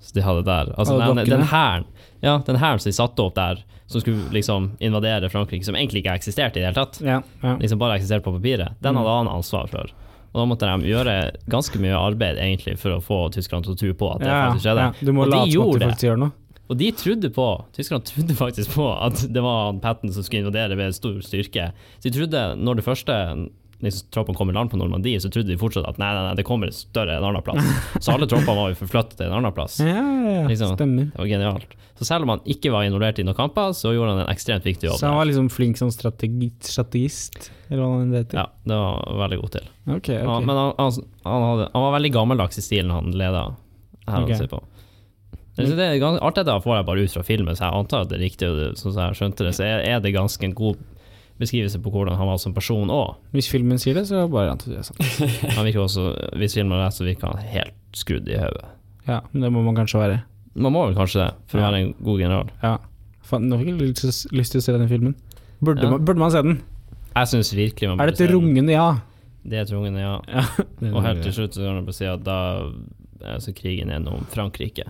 [SPEAKER 1] som de hadde der. Altså
[SPEAKER 2] Ah,
[SPEAKER 1] den,
[SPEAKER 2] dokkene.
[SPEAKER 1] den hæren ja, den hæren som de satte opp der, som skulle liksom invadere Frankrike, som egentlig ikke eksisterte i det hele tatt.
[SPEAKER 2] Ja, ja.
[SPEAKER 1] Liksom bare eksisterte på papiret. Den
[SPEAKER 2] Mm.
[SPEAKER 1] hadde han ansvar for. Og da måtte de gjøre ganske mye arbeid egentlig for å få Tyskland til å tro på at det faktisk skjedde.
[SPEAKER 2] Du må
[SPEAKER 1] Og de
[SPEAKER 2] late som at
[SPEAKER 1] gjorde
[SPEAKER 2] du
[SPEAKER 1] det.
[SPEAKER 2] faktisk gjør noe.
[SPEAKER 1] Og de trodde på, Tyskland trodde faktisk på at det var han Patten som skulle invadere ved stor styrke. Så de trodde når det første liksom, troppen kom i land på Normandie, så trodde de fortsatt at nei, nei, nei det kommer et større en annen plass. Så alle troppene var jo forflyttet til en annen plass.
[SPEAKER 2] Ja, ja, ja.
[SPEAKER 1] Liksom.
[SPEAKER 2] Stemmer.
[SPEAKER 1] Det var genialt. Så selv om han ikke var involvert i noen kamper, så gjorde han en ekstremt viktig jobb.
[SPEAKER 2] Så han
[SPEAKER 1] der.
[SPEAKER 2] var liksom flink som strategi strategist, eller hva det heter.
[SPEAKER 1] Ja, det var han veldig god til.
[SPEAKER 2] Ok, ok.
[SPEAKER 1] Han, men han, han, han, hadde, han var veldig gammeldags i stilen han leda her.
[SPEAKER 2] Ok.
[SPEAKER 1] Okay. på. Jeg synes det er gans- Alt dette får jeg bare ut fra filmen, så jeg antar at det er riktig. Og det, sånn som jeg skjønte det, så er, er det ganske en god beskrivelse på hvordan han var som person òg.
[SPEAKER 2] Hvis filmen sier det, så er det sånn. bare entusiasme.
[SPEAKER 1] Han virker også, hvis filmen er rett, så virker han helt skrudd i hodet.
[SPEAKER 2] Ja, men det må man kanskje være.
[SPEAKER 1] Man må vel kanskje det, for å
[SPEAKER 2] Ja.
[SPEAKER 1] være en god general.
[SPEAKER 2] Ja. Faen, nå fikk jeg lyst til- lyst til å se den filmen. Burde,
[SPEAKER 1] Ja.
[SPEAKER 2] man, burde man se den?
[SPEAKER 1] Jeg synes virkelig man burde
[SPEAKER 2] Er dette
[SPEAKER 1] se den.
[SPEAKER 2] rungende ja?
[SPEAKER 1] Det er et rungende, ja. Og helt til slutt så kan jeg bare si at da er altså krigen gjennom Frankrike.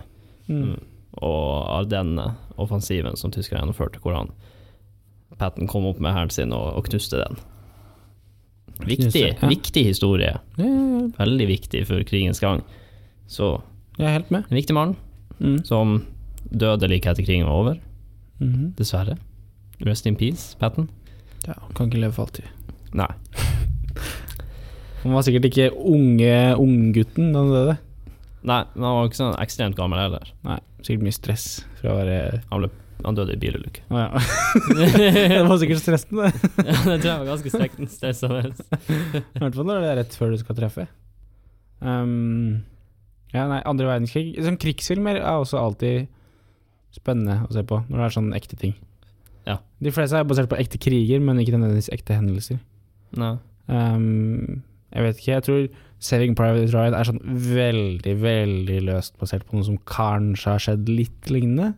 [SPEAKER 2] Mm.
[SPEAKER 1] og av denne offensiven som tyskerne gjennomførte, hvor han Patten kom opp med hæren sin og, og knuste den. Viktig,
[SPEAKER 2] Knuste, ja.
[SPEAKER 1] viktig historie.
[SPEAKER 2] Ja, ja, ja.
[SPEAKER 1] Veldig viktig for krigens gang. Så
[SPEAKER 2] Jeg er helt med.
[SPEAKER 1] en viktig mann
[SPEAKER 2] Mm.
[SPEAKER 1] som døde like etter krigen var over,
[SPEAKER 2] Mhm.
[SPEAKER 1] dessverre. Rest in peace, Patten.
[SPEAKER 2] Ja, kan ikke leve for alltid.
[SPEAKER 1] Nei.
[SPEAKER 2] Han var sikkert ikke unge unggutten da han døde.
[SPEAKER 1] Nei, men han var ikke sånn ekstremt gammel heller.
[SPEAKER 2] Nei, sikkert mye stress fra å være
[SPEAKER 1] Han, ble, han døde i bilulykke.
[SPEAKER 2] Å ja. det var sikkert stressende, det.
[SPEAKER 1] det tror jeg var ganske strek- stressende.
[SPEAKER 2] I hvert fall når det er rett før du skal treffe. Ehm, ja, nei, andre verdenskrig sånn Krigsfilmer er også alltid spennende å se på, når det er sånn ekte ting.
[SPEAKER 1] Ja.
[SPEAKER 2] De fleste er basert på ekte kriger, men ikke nødvendigvis ekte hendelser.
[SPEAKER 1] Nei.
[SPEAKER 2] Ehm, jeg vet ikke, jeg tror 'Saving Private Ryan' er sånn veldig, veldig løst basert på noe som kanskje har skjedd litt lignende.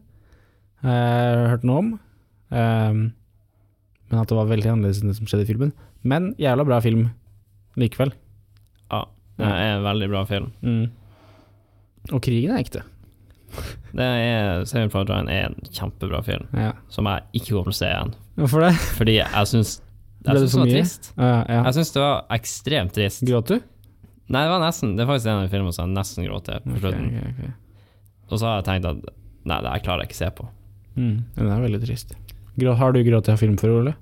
[SPEAKER 2] Eh, Jeg har hørt noe om. Ehm, men at det var veldig annerledes enn det som skjedde i filmen. Men jævla bra film likevel.
[SPEAKER 1] Det er en veldig bra film.
[SPEAKER 2] Mm. Og krigen er ekte.
[SPEAKER 1] Det er, Saving Private Ryan er en kjempebra film.
[SPEAKER 2] Ja.
[SPEAKER 1] som jeg ikke kommer til å se igjen.
[SPEAKER 2] Hvorfor det?
[SPEAKER 1] Fordi jeg syns jeg
[SPEAKER 2] Ble det
[SPEAKER 1] syns det
[SPEAKER 2] for
[SPEAKER 1] var
[SPEAKER 2] mye?
[SPEAKER 1] trist.
[SPEAKER 2] Ja, ja.
[SPEAKER 1] Jeg syns det var ekstremt trist.
[SPEAKER 2] Gråt Altså, du?
[SPEAKER 1] Nei, det var nesten Det er faktisk en av de filmene som jeg nesten gråt til på
[SPEAKER 2] Ok,
[SPEAKER 1] slutten.
[SPEAKER 2] ok, ok.
[SPEAKER 1] Og så har jeg tenkt at nei, det her klarer jeg ikke se på.
[SPEAKER 2] Mm. Den er veldig trist. Grå, har du grått i en film før, Ole?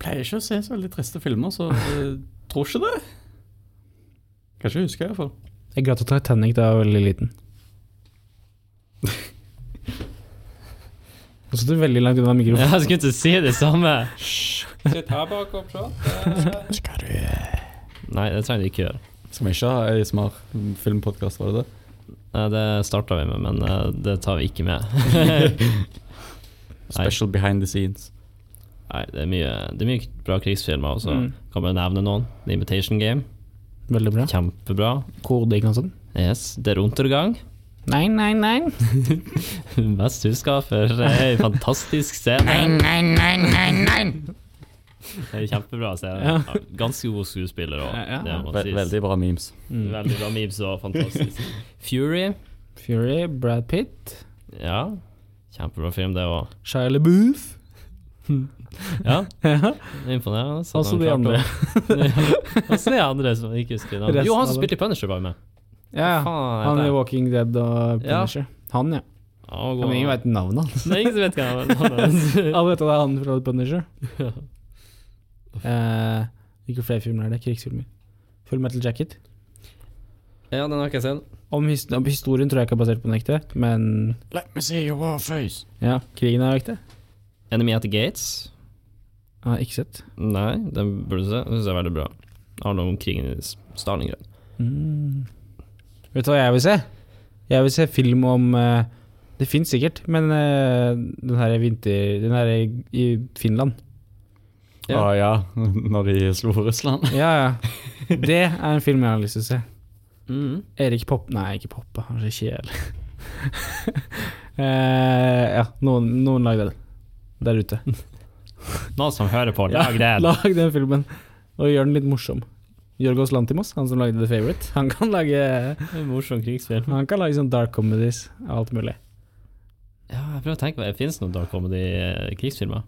[SPEAKER 3] Pleier ikke å se så veldig triste filmer, så jeg tror ikke det. Kanskje jeg husker i hvert fall.
[SPEAKER 2] Jeg gråt av Titanic da jeg var veldig liten. Nå satt du veldig langt unna mikrofonen.
[SPEAKER 1] Jeg skulle ikke si det samme.
[SPEAKER 4] Sitt her bak og prat.
[SPEAKER 3] Skal du...
[SPEAKER 1] Nei, det trenger de ikke gjøre.
[SPEAKER 3] Skal vi ikke ha ASMR filmpodkast, var det det?
[SPEAKER 1] Nei, Det starta vi med, men eh, det tar vi ikke med.
[SPEAKER 3] Special behind the scenes.
[SPEAKER 1] Nei, det er mye, det er mye bra krigsfilmer også.
[SPEAKER 2] Mm.
[SPEAKER 1] Kan bare nevne noen. The Imitation Game,
[SPEAKER 2] Veldig bra.
[SPEAKER 1] kjempebra.
[SPEAKER 2] Koding og sånn.
[SPEAKER 1] Yes. Der Untergang.
[SPEAKER 2] Nei, nei, nei.
[SPEAKER 1] Mest huska for ei fantastisk scene.
[SPEAKER 5] Nein, nein, nein, nein, nein.
[SPEAKER 1] Det er kjempebra å se.
[SPEAKER 2] Ja.
[SPEAKER 1] Ja, Ganske god skuespiller òg.
[SPEAKER 2] Ja, ja.
[SPEAKER 3] Ve veldig bra memes.
[SPEAKER 2] Mm.
[SPEAKER 1] veldig bra memes og fantastisk. Fury.
[SPEAKER 2] Fury, Brad Pitt,
[SPEAKER 1] Ja. Kjempebra film, det òg.
[SPEAKER 2] Shia LaBeouf
[SPEAKER 1] Ja,
[SPEAKER 2] Ja,
[SPEAKER 1] det er imponerende. Så
[SPEAKER 2] Også
[SPEAKER 1] han
[SPEAKER 2] de
[SPEAKER 1] klarte
[SPEAKER 2] andre.
[SPEAKER 1] å- Også de andre som jeg ikke husker navnet.
[SPEAKER 2] Resten
[SPEAKER 1] Jo, han
[SPEAKER 2] av
[SPEAKER 1] som
[SPEAKER 2] dem.
[SPEAKER 1] spilte i Punisher, var jo med.
[SPEAKER 2] ja.
[SPEAKER 1] Faen,
[SPEAKER 2] Han
[SPEAKER 1] heter
[SPEAKER 2] i
[SPEAKER 1] jeg.
[SPEAKER 2] Walking Dead og
[SPEAKER 1] Ja.
[SPEAKER 2] Punisher. Han, ja.
[SPEAKER 1] Ja, han var
[SPEAKER 2] ja
[SPEAKER 1] god.
[SPEAKER 2] men ingen veit navnet hans.
[SPEAKER 1] Det er ingen som vet hva han
[SPEAKER 2] Alle vet at det er han fra Punisher.
[SPEAKER 1] Ja.
[SPEAKER 2] Eh, ikke flere filmer er det, krigsfilmer. Full Metal Jacket.
[SPEAKER 1] Ja, den har ikke jeg sett.
[SPEAKER 2] Om his om historien tror jeg ikke er basert på den ekte, men
[SPEAKER 3] Let me see your war face.
[SPEAKER 2] ja, krigen er jo ekte.
[SPEAKER 1] Enemy at the Gates.
[SPEAKER 2] Jeg har ikke sett.
[SPEAKER 1] Nei, den burde du se. Den synes jeg er veldig bra. Handler om krigen i S- Stalingrad.
[SPEAKER 2] Mm. Vet du hva jeg vil se? Jeg vil se film om eh, Det fins sikkert, men eh, den her i vinter... Den her i, i Finland.
[SPEAKER 1] Ja.
[SPEAKER 3] Ja. Ah, ja, når de slo Russland.
[SPEAKER 2] Ja, ja. Det er en film jeg har lyst til å se. Erik Popp... Nei, ikke Poppa, han er så kjedelig. Eh, ja, noen, noen lagde den der ute.
[SPEAKER 1] Noen som hører på,
[SPEAKER 2] Ja,
[SPEAKER 1] lag det!
[SPEAKER 2] Lag den filmen, og gjør den litt morsom. Jorgos Lantimos, han som lagde The Favourite, han kan lage
[SPEAKER 1] En morsom krigsfilm.
[SPEAKER 2] Han kan lage sånn dark comedies og alt mulig.
[SPEAKER 1] Ja, jeg prøver å eh, tenke på det. Fins noen dark comedy-krigsfilmer?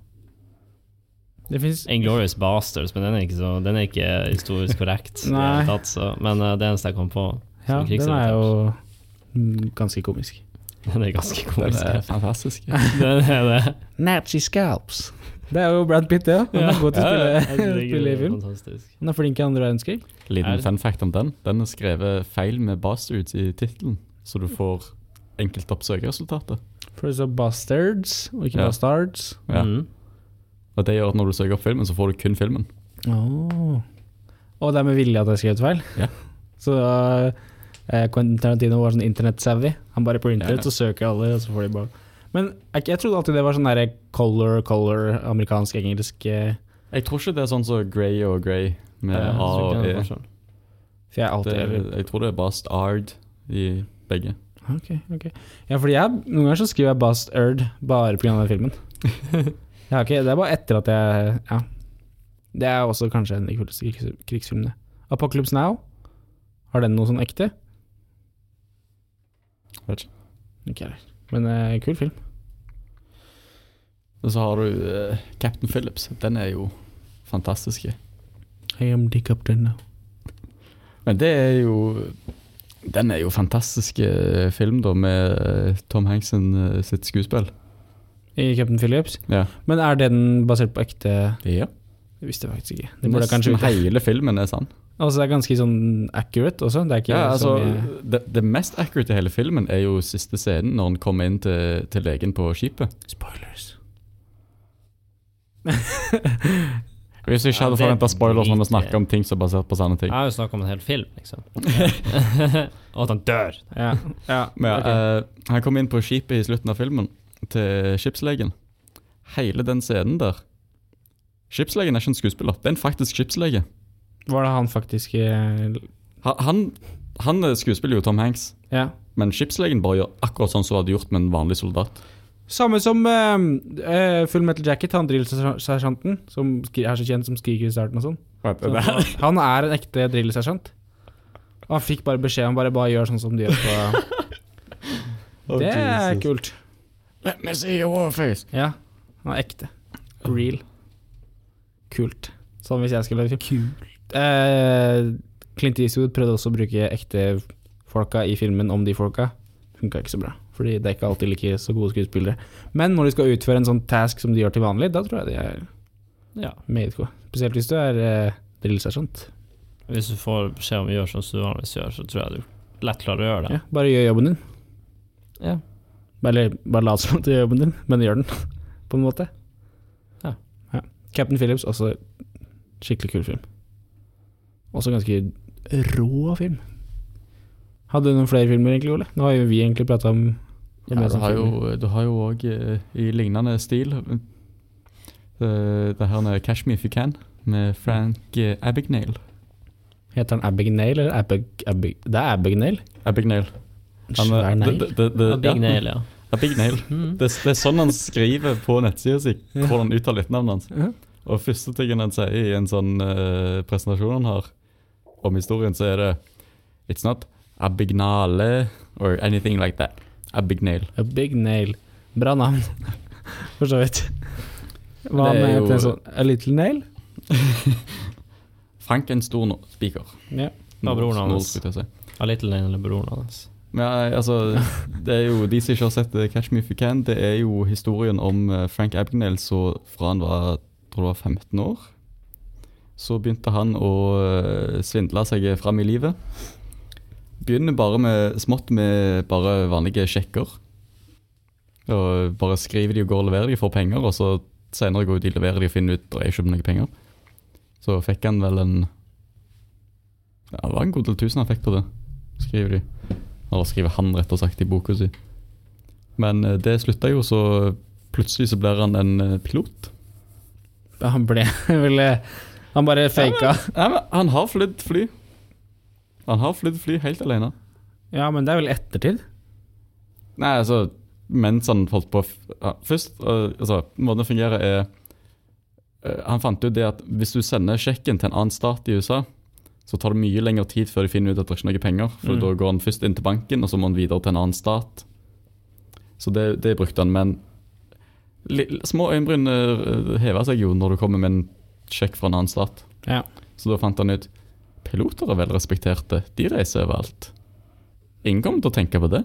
[SPEAKER 2] Det fins
[SPEAKER 1] Inglorious Bastards, men den er ikke, så, den er ikke historisk korrekt. i det
[SPEAKER 2] Nei.
[SPEAKER 1] hele tatt, så. Men eh, det eneste jeg kom på.
[SPEAKER 2] Ja,
[SPEAKER 1] som
[SPEAKER 2] den er
[SPEAKER 1] krigsrelatert.
[SPEAKER 2] jo mm, ganske komisk.
[SPEAKER 1] Den er ganske
[SPEAKER 3] Det
[SPEAKER 1] komisk.
[SPEAKER 3] er fantastisk.
[SPEAKER 1] Den er det.
[SPEAKER 2] Nazi scalps. Det er jo Brad Pitt, det òg. Han er god til å spille, spille i film.
[SPEAKER 1] Fantastisk.
[SPEAKER 2] Han er flink i andre verdenskrig.
[SPEAKER 1] Er
[SPEAKER 3] Liten
[SPEAKER 1] det-
[SPEAKER 3] fun fact om den. Den er skrevet feil med bastards i tittelen, så du får enkeltopp søkeresultatet.
[SPEAKER 2] For det står Bastards, og ikke
[SPEAKER 3] Ja.
[SPEAKER 2] Bastards.
[SPEAKER 3] Ja.
[SPEAKER 1] Mhm.
[SPEAKER 3] Og det gjør at når du søker opp filmen, så får du kun filmen.
[SPEAKER 2] Åh. Og det er med vilje at jeg skrev feil.
[SPEAKER 3] Ja.
[SPEAKER 2] Så eh, Quentin Tarantino var sånn internett-savvy. Han bare printer
[SPEAKER 3] Ja.
[SPEAKER 2] ut og søker alle, og så får de bare Men er ikke- jeg trodde alltid det var sånn derre color, color, amerikansk-engelsk eh,
[SPEAKER 3] Jeg tror ikke det er sånn som Grey og Grey med
[SPEAKER 1] Ja, jeg
[SPEAKER 3] A
[SPEAKER 1] tror ikke
[SPEAKER 3] og
[SPEAKER 1] det er
[SPEAKER 3] E.
[SPEAKER 1] noen forskjell.
[SPEAKER 2] For jeg er alltid
[SPEAKER 3] Det, jeg tror det er bastard i begge.
[SPEAKER 2] Ok, ok. Ja, fordi jeg, noen ganger så skriver jeg Bastard bare pga. den filmen. ja, ok, Det er bare etter at jeg Ja. Det er også kanskje en av de kuleste krigs krigsfilmene. Apocalypse Now, har den noe sånn ekte?
[SPEAKER 3] Vet ikke.
[SPEAKER 2] Ikke heller. Men eh, kul film.
[SPEAKER 3] Og så har du eh, Captain Phillips. Den er jo fantastisk.
[SPEAKER 2] I am Dick Upton now.
[SPEAKER 3] Men det er jo Den er jo fantastisk eh, film, da, med eh, Tom Hanks sin, eh, sitt skuespill.
[SPEAKER 2] I Captain Phillips.
[SPEAKER 3] Ja.
[SPEAKER 2] Men er den basert på ekte
[SPEAKER 3] ja.
[SPEAKER 2] Det visste jeg faktisk ikke. Det burde jeg kanskje
[SPEAKER 3] Nesten
[SPEAKER 2] vite.
[SPEAKER 3] hele filmen er sann.
[SPEAKER 2] Altså, det er ganske sånn accurate også. Det er ikke
[SPEAKER 3] Ja, altså,
[SPEAKER 2] så mye
[SPEAKER 3] det, det mest accurate i hele filmen er jo siste scenen, når han kommer inn til, til legen på skipet.
[SPEAKER 2] Spoilers.
[SPEAKER 3] Hvis jeg ikke hadde
[SPEAKER 1] Ja, det
[SPEAKER 3] forventa spoilers når
[SPEAKER 1] driter
[SPEAKER 3] vi
[SPEAKER 1] jeg.
[SPEAKER 3] snakker om ting som er basert på sanne ting.
[SPEAKER 1] Jeg har jo snakka om en hel film, liksom. Og at han dør.
[SPEAKER 2] Ja. ja.
[SPEAKER 3] Men, ja,
[SPEAKER 2] ok.
[SPEAKER 3] eh, han kom inn på skipet i slutten av filmen, til skipslegen. Hele den scenen der Skipslegen er ikke en skuespiller, det er en faktisk skipslege.
[SPEAKER 2] Var det han faktisk eh,
[SPEAKER 3] Ha- Han, han eh, skuespiller jo Tom Hanks,
[SPEAKER 2] Ja.
[SPEAKER 3] men skipslegen bare gjør akkurat sånn som hun hadde gjort med en vanlig soldat.
[SPEAKER 2] Samme som eh, eh, Full Metal Jacket, han drillsersjanten som skri- er så kjent som skriker i starten og sånn. Så Han han er en ekte drillsersjant. Og han fikk bare beskjed om bare, bare gjør sånn som de gjør på Det er kult.
[SPEAKER 3] Let me see your face.
[SPEAKER 2] Ja, han er ekte. Real. Kult. Sånn hvis jeg skulle lage film. Kult. Eh, Clint Eastwood prøvde også å bruke ekte folka i filmen om de folka. Funka ikke så bra, fordi det er ikke alltid like så gode skuespillere. Men når de skal utføre en sånn task som de gjør til vanlig, da tror jeg de er
[SPEAKER 1] Ja.
[SPEAKER 2] meget gode. Spesielt hvis du er eh, drillsersjant.
[SPEAKER 1] Hvis du får beskjed om å gjøre sånn som du vanligvis gjør, så tror jeg du lett klarer å gjøre det.
[SPEAKER 2] Ja, bare gjør jobben din.
[SPEAKER 1] Ja.
[SPEAKER 2] Eller bare lat som at du gjør jobben din, men gjør den, på en måte.
[SPEAKER 1] Ja.
[SPEAKER 2] ja. Captain Phillips, også skikkelig kul film. Også ganske rå film. Hadde du noen flere filmer, egentlig, Ole? Nå har jo vi egentlig prata om
[SPEAKER 3] Ja, altså, mm. du har jo- du har jo òg i lignende stil eh, det her med 'Cash Me If You Can' med Frank eh, Abagnale.
[SPEAKER 2] Heter han Abigail, eller Abig... Abig det er Abigail?
[SPEAKER 3] Abagnale. Han,
[SPEAKER 2] Svær
[SPEAKER 3] eh,
[SPEAKER 2] negl.
[SPEAKER 3] det- det- det-
[SPEAKER 1] Og Big
[SPEAKER 3] ja,
[SPEAKER 1] Nail, ja.
[SPEAKER 3] Abagnale.
[SPEAKER 1] Mm.
[SPEAKER 3] Det, det er sånn han skriver på nettsida si hvordan han uttaler etternavnet hans.
[SPEAKER 2] Ja.
[SPEAKER 3] Og første tingen han sier i en sånn eh, presentasjon han har om historien, så er det It's not abignale or anything like that. Abignale.
[SPEAKER 2] A big nail. Bra navn, for så vidt. Hva
[SPEAKER 3] Det er
[SPEAKER 2] med
[SPEAKER 3] jo-
[SPEAKER 2] en sånn A little nail?
[SPEAKER 3] Frank er en stor nå- spiker.
[SPEAKER 2] Ja.
[SPEAKER 1] Ja, broren
[SPEAKER 3] Nål,
[SPEAKER 1] hans.
[SPEAKER 3] skulle jeg si.
[SPEAKER 1] Ja, Little Lane eller broren hans.
[SPEAKER 3] Men ja, altså, det er jo de som ikke har sett eh, Catch Me If You Can, det er jo historien om eh, Frank Abagnale så fra han var, tror det var 15 år. Så begynte han å eh, svindle seg fram i livet. Begynner bare med, smått med bare vanlige sjekker. Og bare skriver de og går og leverer de for penger, og så senere går de og leverer de og finner ut at det er ikke noen penger. Så fikk han vel en Ja, det var en god del tusen han fikk på det, skriver de. Eller skriver han rett og slett i boka si. Men eh, det slutta jo, så plutselig så blir han en eh, pilot.
[SPEAKER 2] Han ble vel eh, Han bare faka.
[SPEAKER 3] Nei, men han har flydd fly. Han har flydd fly helt alene.
[SPEAKER 2] Ja, men det er vel ettertid?
[SPEAKER 3] Nei, altså Mens han holdt på å f- ja, Først, eh, altså, måten det fungerer er eh, Han fant ut det at hvis du sender sjekken til en annen stat i USA, så tar det mye lengre tid før de finner ut at det er ikke er noe penger. For
[SPEAKER 2] Mm.
[SPEAKER 3] da går han først inn til banken, og så må han videre til en annen stat. Så det, det brukte han. Men li- små øyenbryn eh, hever seg jo når du kommer med en sjekk fra en annen stat.
[SPEAKER 2] Ja.
[SPEAKER 3] Så da fant han ut Piloter er vel respekterte. De reiser overalt. Ingen kommer til å tenke på det.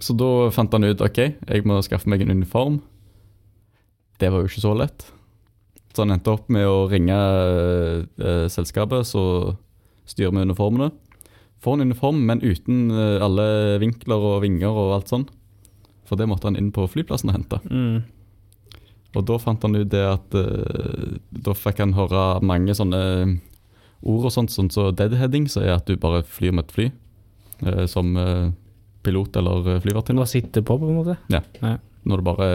[SPEAKER 3] Så da fant han ut ok, jeg må skaffe meg en uniform. Det var jo ikke så lett. Så han endte opp med å ringe eh, selskapet som styrer med uniformene. Får en uniform, men uten eh, alle vinkler og vinger og alt sånn. For det måtte han inn på flyplassen og hente.
[SPEAKER 2] Mm.
[SPEAKER 3] Og da fant han ut det at eh, Da fikk han høre mange sånne ord og sånt, sånn som deadheading, som er at du bare flyr med et fly. eh, som eh, pilot eller eh, flyvertinne.
[SPEAKER 2] Til å sitte på, på en måte.
[SPEAKER 3] Når du bare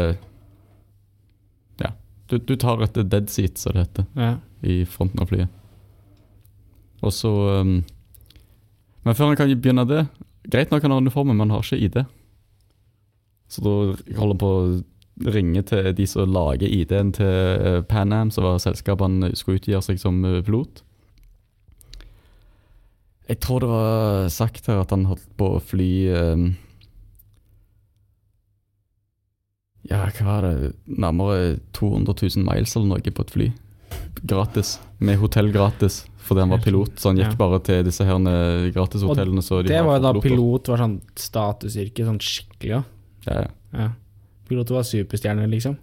[SPEAKER 3] Ja. Du, du tar et dead seat, som det heter,
[SPEAKER 2] Ja.
[SPEAKER 3] i fronten av flyet. Og så eh, Men før han kan begynne det Greit nok han har uniformen, men han har ikke ID. Så da holder han på å ringe til de som lager ID-en til eh, Pan Am, som var selskapet han skulle utgjøre seg som eh, pilot. Jeg tror det var sagt her at han holdt på å fly eh, Ja, hva var det? Nærmere 200 000 miles eller noe på et fly. Gratis. Med hotell gratis, fordi han var pilot. Så han Sånn gikk
[SPEAKER 2] Ja.
[SPEAKER 3] bare til disse her eh, gratishotellene. så de
[SPEAKER 2] Det
[SPEAKER 3] har
[SPEAKER 2] var jo da
[SPEAKER 3] fått piloter.
[SPEAKER 2] pilot var sånn statusyrke, sånn skikkelig, ja.
[SPEAKER 3] Ja, ja.
[SPEAKER 2] ja. Piloter var superstjerner, liksom.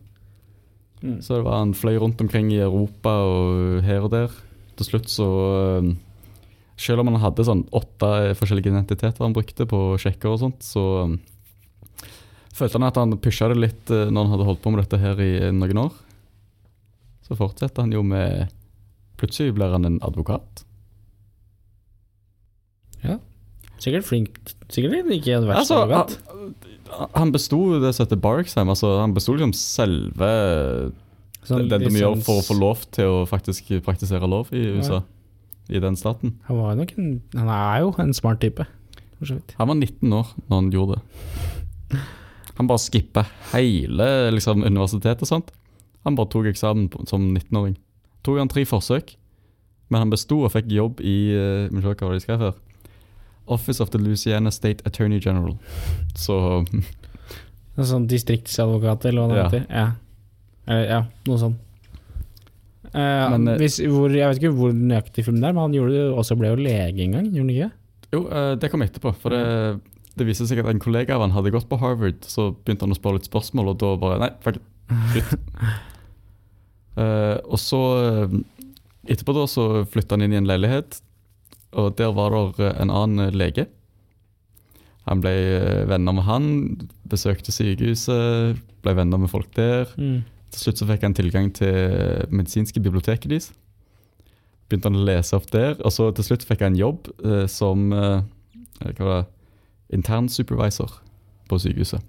[SPEAKER 2] Mm.
[SPEAKER 3] Så det var han fløy rundt omkring i Europa og her og der. Til slutt så eh, Selv om han hadde sånn åtte forskjellige identiteter han brukte på sjekker og sånt, så eh, følte han at han pusha det litt eh, når han hadde holdt på med dette her i eh, noen år. Så fortsetter han jo med Plutselig blir han en advokat.
[SPEAKER 2] Sikkert flink Sikkert ikke hadde vært så
[SPEAKER 3] han,
[SPEAKER 2] godt.
[SPEAKER 3] han besto det som heter Barksheim. Altså, han besto liksom selve
[SPEAKER 2] Sånn
[SPEAKER 3] den
[SPEAKER 2] litt
[SPEAKER 3] de gjør
[SPEAKER 2] sånn-
[SPEAKER 3] for å få lov til å faktisk praktisere lov i USA. I den staten.
[SPEAKER 2] Han var nok en Han er jo en smart type, for så vidt.
[SPEAKER 3] Han var 19 år når han gjorde det. Han bare skippa hele liksom, universitetet og sånt. Han bare tok eksamen på, som 19-åring. Tok han tre forsøk, men han besto og fikk jobb i eh, må se hva var det de skrev her. Office of the Louisiana State Attorney General. Så
[SPEAKER 2] En Sånn distriktsadvokat, eller hva det
[SPEAKER 3] Ja.
[SPEAKER 2] heter. Ja. Eller, ja, noe sånn. Eh,
[SPEAKER 3] Men, eh,
[SPEAKER 2] hvis, hvor, jeg vet ikke hvor nøyaktig film det er, men han gjorde det jo- også ble jo lege en gang, gjorde han ikke?
[SPEAKER 3] Jo, eh, det kom etterpå. For det, det viste seg at en kollega av han hadde gått på Harvard. Så begynte han å spørre litt spørsmål, og da bare Nei, ferdig. Slutt. Eh, og så eh, Etterpå da så flytta han inn i en leilighet, og der var det en annen eh, lege. Han ble eh, venner med han, besøkte sykehuset, ble venner med folk der. Til slutt så fikk han tilgang til medisinske biblioteket deres. Begynte han å lese opp der, og så til slutt fikk han jobb eh, som eh, hva var det, intern supervisor på sykehuset.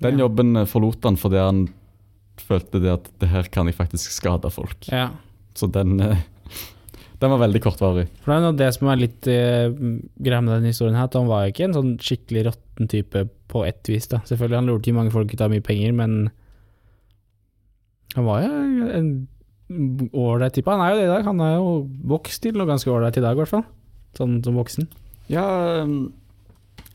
[SPEAKER 3] Den
[SPEAKER 2] Ja.
[SPEAKER 3] jobben eh, forlot han fordi han følte det at det her kan jeg faktisk skade folk.
[SPEAKER 2] Ja.
[SPEAKER 3] Så den, eh, den var veldig kortvarig.
[SPEAKER 2] For det er noe av det som er litt eh, greia med den historien her, at han var jo ikke en sånn skikkelig råtten type på ett vis, da. Selvfølgelig, han lurte jo mange folk ut av mye penger, men Han var jo en ålreit type. Han er jo det i dag. Han er jo vokst til og ganske ålreit i dag, i hvert fall. Sånn som voksen.
[SPEAKER 3] Ja, um,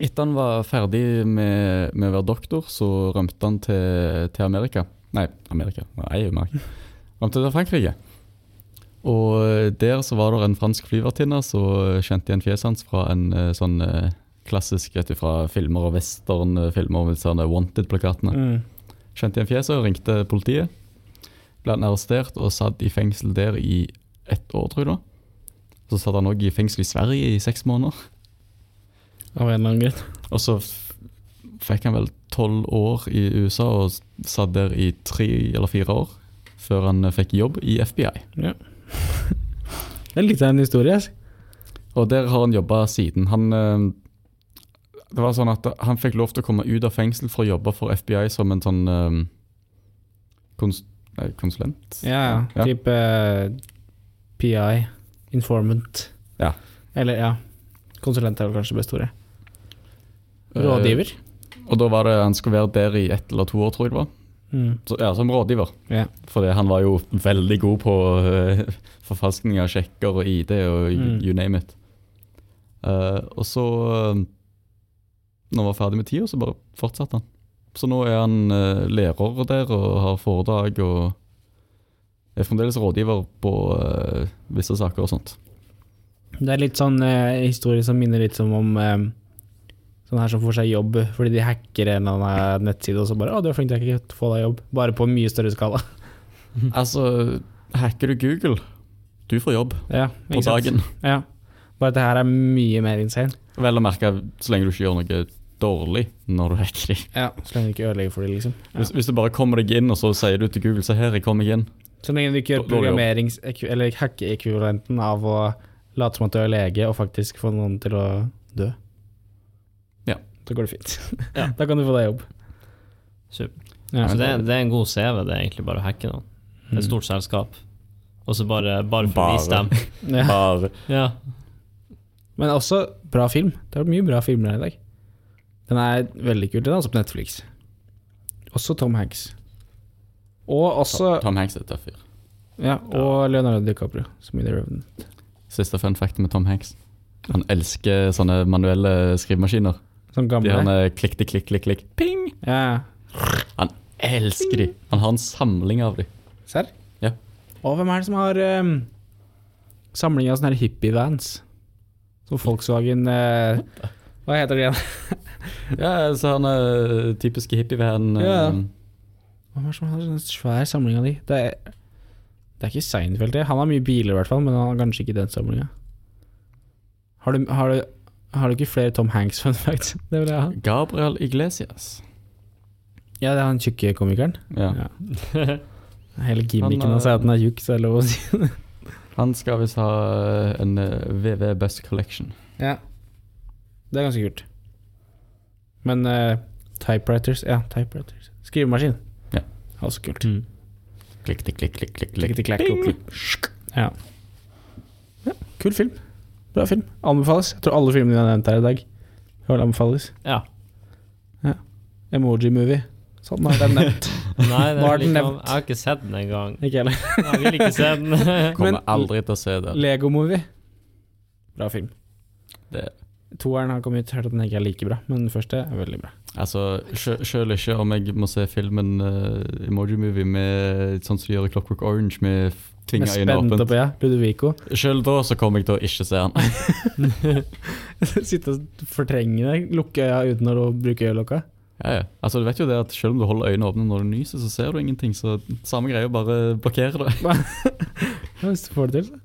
[SPEAKER 3] etter han var ferdig med, med å være doktor, så rømte han til, til Amerika. Nei, Amerika. Nei, Amerika. Rømte til Frankrike. Og eh, der så var det en fransk flyvertinne som kjente igjen fjeset hans fra en eh, sånn eh, klassisk vet du, fra filmer og westernfilmer med sånne Wanted-plakatene.
[SPEAKER 2] Mm.
[SPEAKER 3] Kjente igjen fjeset og ringte politiet. Ble han arrestert og satt i fengsel der i ett år, tror jeg. da. Så satt han òg i fengsel i Sverige i seks måneder.
[SPEAKER 2] Av en eller annen grunn.
[SPEAKER 3] Og så f- fikk han vel tolv år i USA og s- satt der i tre eller fire år før han eh, fikk jobb i FBI.
[SPEAKER 2] Det er litt av en historie. Altså.
[SPEAKER 3] Og der har han jobba siden. Han eh, Det var sånn at han fikk lov til å komme ut av fengsel for å jobbe for FBI som en sånn eh, kons nei, konsulent.
[SPEAKER 2] Ja,
[SPEAKER 3] Ja.
[SPEAKER 2] Type eh, PI, informant.
[SPEAKER 3] Ja.
[SPEAKER 2] Eller ja, konsulent er vel kanskje det beste ordet.
[SPEAKER 3] Eh,
[SPEAKER 2] Rådgiver.
[SPEAKER 3] og da var det han skulle være der i ett eller to år, tror jeg det var.
[SPEAKER 2] Mm.
[SPEAKER 3] Så, ja, som rådgiver.
[SPEAKER 2] Ja.
[SPEAKER 3] Fordi han var jo veldig god på eh, forfalskning av sjekker og ID og you,
[SPEAKER 2] Mm.
[SPEAKER 3] you name it. Eh, og så eh, Når han var ferdig med tida, så bare fortsatte han. Så nå er han eh, lærer der og har foredrag og er fremdeles rådgiver på eh, visse saker og sånt.
[SPEAKER 2] Det er litt sånn eh, historie som minner litt som om eh, sånn her som får seg jobb fordi de hacker en eller annen nettside, og så bare 'Å, du er flink til å hacke, få deg jobb'. Bare på en mye større skala. Mhm.
[SPEAKER 3] Altså, hacker du Google, du får jobb
[SPEAKER 2] Ja,
[SPEAKER 3] på
[SPEAKER 2] ikke sant?
[SPEAKER 3] dagen.
[SPEAKER 2] Ja. Bare at det her er mye mer insane.
[SPEAKER 3] Vel å merke så lenge du ikke gjør noe dårlig når du hacker de.
[SPEAKER 2] Ja. Så lenge du ikke ødelegger for det, liksom. Ja.
[SPEAKER 3] Hvis, hvis du bare kommer deg inn, og så sier du til Google se her, jeg kom meg inn.
[SPEAKER 2] Så lenge du ikke gjør
[SPEAKER 3] Dårlig jobb.
[SPEAKER 2] programmerings- ekvi- eller hackeekvivalenten av å late som at du er lege, og faktisk få noen til å dø.
[SPEAKER 3] Ja.
[SPEAKER 2] Så går det fint. Da kan du få deg jobb.
[SPEAKER 1] Super.
[SPEAKER 2] Ja.
[SPEAKER 1] Så det, er- det er en god CV, det er egentlig bare å hacke noen. Det er
[SPEAKER 2] Mm.
[SPEAKER 1] et stort selskap. Og så bare, bare for å vise
[SPEAKER 3] Bare.
[SPEAKER 1] dem.
[SPEAKER 2] Ja.
[SPEAKER 3] Bare.
[SPEAKER 1] Ja.
[SPEAKER 2] Men også bra film. Det har vært mye bra filmer her i dag. Den er veldig kul. Den er også på Netflix. Også Tom Hanks. Og også
[SPEAKER 3] Tom Hanks er et tøff fyr.
[SPEAKER 2] ja, og Leonardo DiCaprio, som i The Revenant.
[SPEAKER 3] Siste fun fact med Tom Hanks. Han elsker sånne manuelle skrivemaskiner.
[SPEAKER 2] Sånn
[SPEAKER 3] De
[SPEAKER 2] gamle.
[SPEAKER 3] han eh, klikk til klikk, klikk, klikk. Ping!
[SPEAKER 2] Ja,
[SPEAKER 3] Han elsker de. Han har en samling av de.
[SPEAKER 2] Serr?
[SPEAKER 3] Ja.
[SPEAKER 2] Og hvem er det som har um, samling av sånne her hippie-vans? Som Volkswagen eh, Hva heter det igjen?
[SPEAKER 3] Ja, så han er typiske hippievennen. eh,
[SPEAKER 2] Ja. Hvem er det som har sånn svær samling av de? Det er, det er ikke Seinfeld, det. Han har mye biler i hvert fall, men han har kanskje ikke den samlinga. Har, du- har, du- har du ikke flere Tom Hanks fun facts? Det vil jeg ha.
[SPEAKER 3] Gabriel Iglesias.
[SPEAKER 2] Ja, det er han tjukke komikeren.
[SPEAKER 3] Ja.
[SPEAKER 2] Ja. Hele gimmicken
[SPEAKER 3] Han,
[SPEAKER 2] hans er
[SPEAKER 3] eh,
[SPEAKER 2] at han er tjukk, så er det lov å si.
[SPEAKER 3] Han skal visst ha en eh, VV Best Collection.
[SPEAKER 2] Ja. Det er ganske kult. Men eh, typewriters Ja, typewriters. Skrivemaskin.
[SPEAKER 3] Ja.
[SPEAKER 2] Også kult.
[SPEAKER 1] Mm.
[SPEAKER 3] Klikk til klikk, klikk, klikk, klikk.
[SPEAKER 2] Klikketi-klakk og klikk. Ja. ja. Kul film. Bra film. Anbefales. Jeg tror alle filmene jeg har nevnt her i dag, hører anbefales.
[SPEAKER 1] ja.
[SPEAKER 2] Emoji-movie. Sånn er den nevnt.
[SPEAKER 1] Nei, det er
[SPEAKER 2] Nå er den
[SPEAKER 1] liksom,
[SPEAKER 2] nevnt.
[SPEAKER 1] jeg har ikke sett den engang.
[SPEAKER 2] Ikke heller.
[SPEAKER 1] Jeg vil ikke se den.
[SPEAKER 3] Kommer
[SPEAKER 2] Men-
[SPEAKER 3] aldri til å se det.
[SPEAKER 2] Lego-movie. Bra film.
[SPEAKER 3] Det
[SPEAKER 2] Toeren har kommet ut, hørt at den ikke er like bra, men den første er veldig bra.
[SPEAKER 3] Altså, sjø- Selv ikke om jeg må se filmen eh, Emoji Movie med sånn som de gjør i Clockwork Orange, med f-
[SPEAKER 2] Med
[SPEAKER 3] tvinga øynene
[SPEAKER 2] spent
[SPEAKER 3] åpent.
[SPEAKER 2] opp, ja. Ludovico.
[SPEAKER 3] Selv da så kommer jeg til å ikke se den.
[SPEAKER 2] Sitte og fortrenge det. Lukke øya uten å bruke øyelokka.
[SPEAKER 3] Ja, ja. Altså, du vet jo det at Selv om du holder øynene åpne når du nyser, så ser du ingenting. Så samme greie, bare blokkere det.
[SPEAKER 2] Ja, Hvis du får det til, så.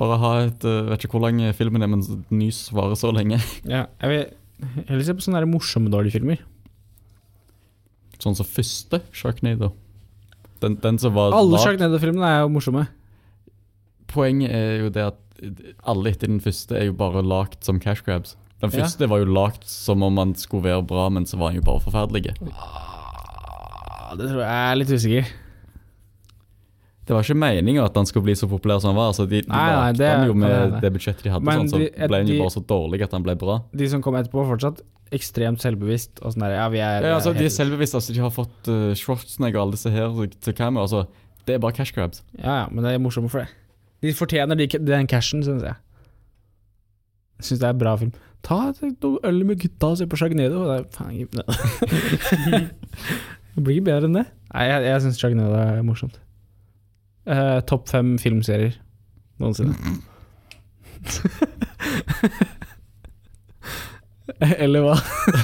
[SPEAKER 3] Bare ha et eh, Vet ikke hvor lang filmen er, men s- nys varer så lenge.
[SPEAKER 2] Ja, jeg vil heller se på sånne der morsomme, dårlige filmer.
[SPEAKER 3] Sånn som første Sharknado. Den, den som var
[SPEAKER 2] Alle
[SPEAKER 3] lag-
[SPEAKER 2] Sharknado-filmene er jo morsomme.
[SPEAKER 3] Poenget er jo det at alle etter den første er jo bare lagt som cash grabs. Den
[SPEAKER 2] Ja.
[SPEAKER 3] første var jo lagt som om han skulle være bra, men så var han jo bare forferdelig.
[SPEAKER 2] Ah, det tror jeg er litt usikker.
[SPEAKER 3] Det var ikke meninga at han skulle bli så populær som han var. Altså, de de
[SPEAKER 2] Nei, nei,
[SPEAKER 3] lagde
[SPEAKER 2] det-
[SPEAKER 3] han jo med
[SPEAKER 2] nei,
[SPEAKER 3] det,
[SPEAKER 2] nei.
[SPEAKER 3] budsjettet de hadde,
[SPEAKER 2] Men
[SPEAKER 3] sånn, så
[SPEAKER 2] de-
[SPEAKER 3] ble han jo
[SPEAKER 2] de-
[SPEAKER 3] bare så dårlig at han ble bra.
[SPEAKER 2] De som kom etterpå, var fortsatt ekstremt selvbevisst og sånn der Ja, vi er
[SPEAKER 3] Ja, altså,
[SPEAKER 2] er
[SPEAKER 3] de er
[SPEAKER 2] helt-
[SPEAKER 3] selvbevisste. Altså, de har fått uh, Schwarzenegger og alle disse her til kamera. Altså, det er bare cash grabs.
[SPEAKER 2] Ja, ja, men det er morsomt for det. De fortjener de, den cashen, syns jeg. Jeg syns det er en bra film. Ta et noe øl med gutta og se på Sjagnado. Det er faen ikke Det blir ikke bedre enn det. Nei, jeg, jeg syns Sjagnado er morsomt. Eh, Topp fem filmserier noensinne. Eller hva?